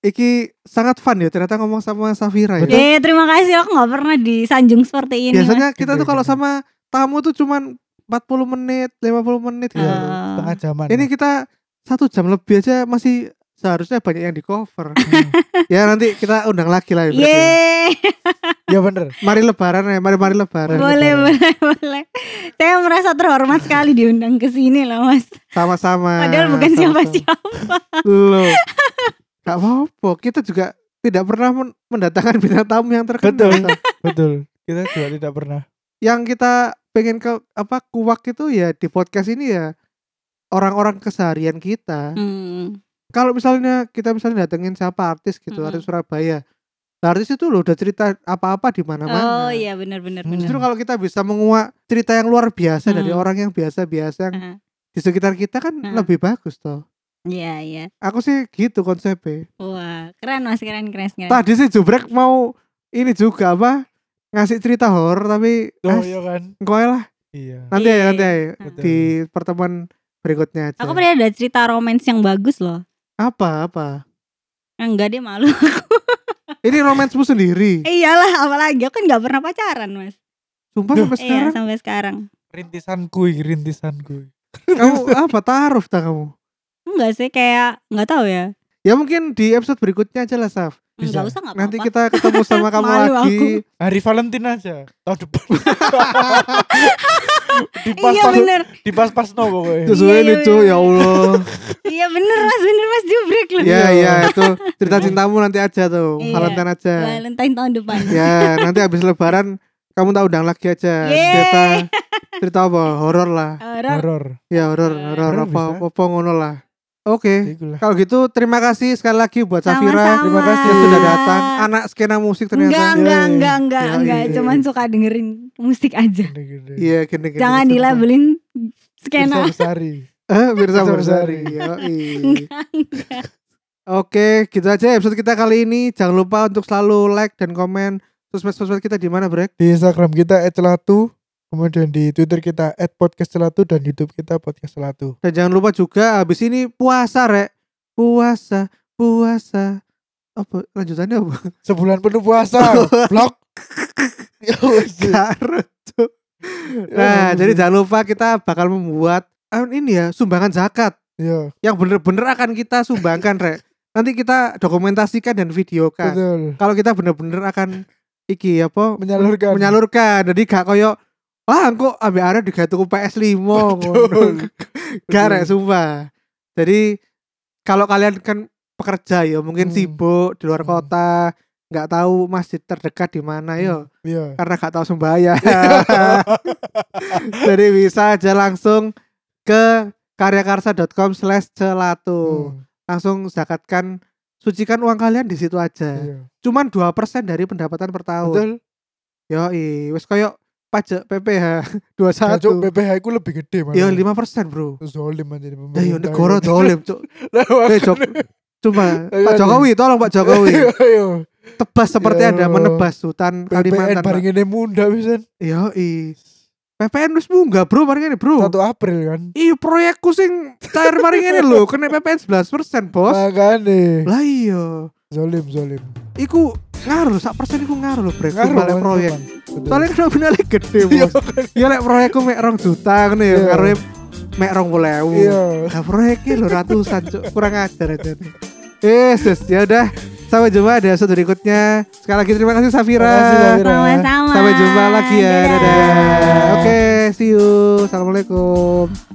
Speaker 1: iki sangat fun ya ternyata ngomong sama Safira ya.
Speaker 3: Eh, terima kasih. Aku gak pernah disanjung seperti ini. Mas.
Speaker 1: Biasanya kita tuh kalau
Speaker 2: Gitu, gitu.
Speaker 1: sama tamu tuh cuman 40 menit, 50 menit gitu.
Speaker 3: Eh.
Speaker 2: Iya, Setengah jaman.
Speaker 1: Ini kita satu jam lebih aja masih seharusnya banyak yang di
Speaker 3: *laughs*
Speaker 1: cover. ya nanti kita undang lagi lah. ya berarti.
Speaker 3: Yeay.
Speaker 1: gitu.
Speaker 2: ya bener.
Speaker 1: Mari lebaran ya, mari mari lebaran.
Speaker 3: boleh
Speaker 2: boleh.
Speaker 3: boleh boleh saya merasa terhormat sekali diundang ke sini lah mas
Speaker 1: Sama-sama.
Speaker 3: padahal
Speaker 1: Ah,
Speaker 3: bukan
Speaker 1: Sama-sama.
Speaker 3: siapa siapa
Speaker 1: *laughs* Loh. Gak apa-apa, kita juga tidak pernah men- mendatangkan bintang tamu yang terkenal.
Speaker 2: Betul.
Speaker 1: Sa.
Speaker 2: Betul. Kita juga tidak pernah.
Speaker 1: Yang kita pengen ke apa kuak itu ya di podcast ini ya orang-orang keseharian kita.
Speaker 3: Hmm.
Speaker 1: Kalau misalnya kita misalnya datengin siapa artis gitu,
Speaker 3: Mm-mm.
Speaker 1: artis Surabaya. Nah, artis itu loh udah cerita apa-apa di mana-mana.
Speaker 3: oh iya benar benar
Speaker 2: Hmm.
Speaker 3: benar
Speaker 1: Justru kalau kita bisa menguak cerita yang luar biasa dari
Speaker 3: Hmm.
Speaker 1: orang yang biasa-biasa yang
Speaker 3: Heeh.
Speaker 1: di sekitar kita kan
Speaker 3: Heeh.
Speaker 1: lebih bagus toh.
Speaker 3: iya iya
Speaker 1: Aku sih gitu konsepnya.
Speaker 3: wah keren mas keren keren keren
Speaker 1: Eh. Tadi sih Jubrek mau ini juga apa ngasih cerita horor tapi
Speaker 2: Oh,
Speaker 1: as-
Speaker 2: iya kan.
Speaker 1: engkau ae lah.
Speaker 2: Iya.
Speaker 1: Nanti aja
Speaker 3: Iya.
Speaker 1: nanti aja
Speaker 2: Betul.
Speaker 1: di pertemuan berikutnya aja.
Speaker 3: aku pernah ada cerita romance yang bagus loh
Speaker 1: apa apa?
Speaker 3: enggak dia malu *laughs*
Speaker 1: Ini romansmu sendiri.
Speaker 3: Eh, iyalah apalagi aku kan nggak pernah pacaran mas
Speaker 1: Sumpah
Speaker 2: Duh.
Speaker 1: sampai
Speaker 3: iya
Speaker 1: sekarang
Speaker 3: sampai sekarang
Speaker 2: Rintisanku, iki, rintisanku.
Speaker 1: kamu apa taruh tak kamu?
Speaker 3: enggak sih kayak nggak tahu ya
Speaker 1: Ya mungkin di episode berikutnya aja lah Saf.
Speaker 2: Bisa.
Speaker 3: nggak usah nggak
Speaker 1: Nanti
Speaker 3: apa-apa
Speaker 1: kita ketemu sama kamu
Speaker 3: Malu
Speaker 1: lagi.
Speaker 2: Hari Valentine aja tahun
Speaker 1: *laughs*
Speaker 2: depan. dipas
Speaker 3: iya
Speaker 2: pas
Speaker 3: bener
Speaker 2: dipas pas no pokoknya.
Speaker 1: Terus ini
Speaker 3: Iya, iya,
Speaker 1: lucu,
Speaker 3: iya.
Speaker 1: ya
Speaker 3: *laughs*
Speaker 1: Allah.
Speaker 3: iya bener mas bener mas jubrek loh
Speaker 1: ya ya itu cerita cintamu nanti aja tuh.
Speaker 3: Iya.
Speaker 1: Valentine aja.
Speaker 3: Valentine tahun depan Eh,
Speaker 1: ya nanti habis lebaran kamu tak undang lagi aja
Speaker 3: Yeay.
Speaker 1: cerita cerita apa horor lah
Speaker 3: Horor.
Speaker 2: Horor.
Speaker 1: ya horor
Speaker 3: Horor.
Speaker 1: horor
Speaker 2: Horor
Speaker 1: apa
Speaker 2: bisa.
Speaker 1: apa ngono lah oke
Speaker 2: Iku lah.
Speaker 1: kalau gitu terima kasih sekali lagi buat Safira
Speaker 3: Sama-sama.
Speaker 1: terima kasih yang sudah datang anak skena musik
Speaker 3: Enggak,
Speaker 1: ternyata
Speaker 3: enggak, enggak, enggak,
Speaker 1: Iya,
Speaker 3: enggak.
Speaker 1: iya.
Speaker 3: Cuman suka dengerin musik aja.
Speaker 2: Gede-gede.
Speaker 1: iya gini gini
Speaker 3: Jangan dilabelin skena.
Speaker 2: Bisa besari.
Speaker 1: *laughs* eh Birsa
Speaker 2: Birsa
Speaker 1: Bersari
Speaker 2: Bersari.
Speaker 3: *laughs*
Speaker 1: yoi.
Speaker 3: Enggak, *laughs* enggak.
Speaker 1: oke gitu aja episode kita kali ini jangan lupa untuk selalu like dan komen sosmed sosmed kita di mana brek
Speaker 2: Di Instagram kita @celatu, kemudian di Twitter kita @podcastcelatu dan YouTube kita podcastcelatu.
Speaker 1: Dan jangan lupa juga habis ini puasa rek. Puasa, puasa. Apa lanjutannya apa?
Speaker 2: Sebulan penuh puasa.
Speaker 1: *laughs*
Speaker 2: Blok. Ya wes.
Speaker 1: Garut,
Speaker 2: *laughs*
Speaker 1: Cuk. Nah, jadi jangan lupa kita bakal membuat eh, ini ya sumbangan zakat
Speaker 2: Iya,
Speaker 1: yang bener-bener akan kita sumbangkan rek. Nanti kita dokumentasikan dan videokan.
Speaker 2: betul.
Speaker 1: Kalau kita bener-bener akan iki apa
Speaker 2: Menyalurkan.
Speaker 1: menyalurkan. Jadi gak koyo wah kok ambil arek juga tuku PS5
Speaker 2: Betul.
Speaker 1: ngono. Gak rek sumpah. Jadi kalau kalian kan pekerja ya mungkin
Speaker 2: Hmm.
Speaker 1: sibuk di luar
Speaker 2: Hmm.
Speaker 1: kota, nggak tahu masjid terdekat di mana yo
Speaker 2: Iya.
Speaker 1: karena nggak tahu sembahyang. Jadi bisa aja langsung ke karyakarsa.com slash celatu
Speaker 2: Hmm,
Speaker 1: langsung zakatkan sucikan uang kalian di situ aja
Speaker 2: iya.
Speaker 1: cuman 2% dari pendapatan per tahun
Speaker 2: Betul.
Speaker 1: yoi wes koyo pajak PPH 21
Speaker 2: Cocok PPH ku lebih gede mana.
Speaker 1: yo 5% Iya, bro
Speaker 2: Zolim aja di pemerintah.
Speaker 1: ya yo negara
Speaker 2: iya.
Speaker 1: dolim cuk
Speaker 2: gitu. Lah,
Speaker 1: Eh,
Speaker 2: *laughs*
Speaker 1: Jok-
Speaker 2: Iya,
Speaker 1: Cuma
Speaker 2: Ayo,
Speaker 1: Pak
Speaker 2: ayo.
Speaker 1: Jokowi, tolong Pak Jokowi.
Speaker 2: Ayo, ayo.
Speaker 1: Tebas seperti
Speaker 2: Ya
Speaker 1: ada
Speaker 2: Allah.
Speaker 1: menebas hutan
Speaker 2: PPN
Speaker 1: Kalimantan. Pak.
Speaker 2: paling ini muda bisa.
Speaker 1: Yo, i. PPN wis munggah, Bro, paling ini, Bro.
Speaker 2: 1 April kan.
Speaker 1: Iya, proyekku sing cair paling ini lho, kena PPN 11%, Bos.
Speaker 2: Makanya.
Speaker 1: Lah iya.
Speaker 2: Zolim, zolim.
Speaker 1: Iku ngaruh, sak persen iku ngaruh lho, Brek.
Speaker 2: Ngaruh,
Speaker 1: Ngaruh
Speaker 2: Bang.
Speaker 1: proyek.
Speaker 2: Betul.
Speaker 1: Soalnya kena finale gede,
Speaker 2: Iya,
Speaker 1: Bos. Ya lek proyekku mek 2 juta ngene ya,
Speaker 2: Iya.
Speaker 1: ngaruhnya mek 20.000.
Speaker 2: Iya.
Speaker 1: Nah proyeknya lo ratusan cuk kurang ajar aja nih. Yes, yes. ya udah sampai jumpa di episode berikutnya. Sekali lagi terima kasih Safira.
Speaker 2: Terima kasih, Safira.
Speaker 3: Sama-sama.
Speaker 1: Sampai jumpa lagi ya. Dadah.
Speaker 3: Dadah.
Speaker 1: Oke, see you. Assalamualaikum.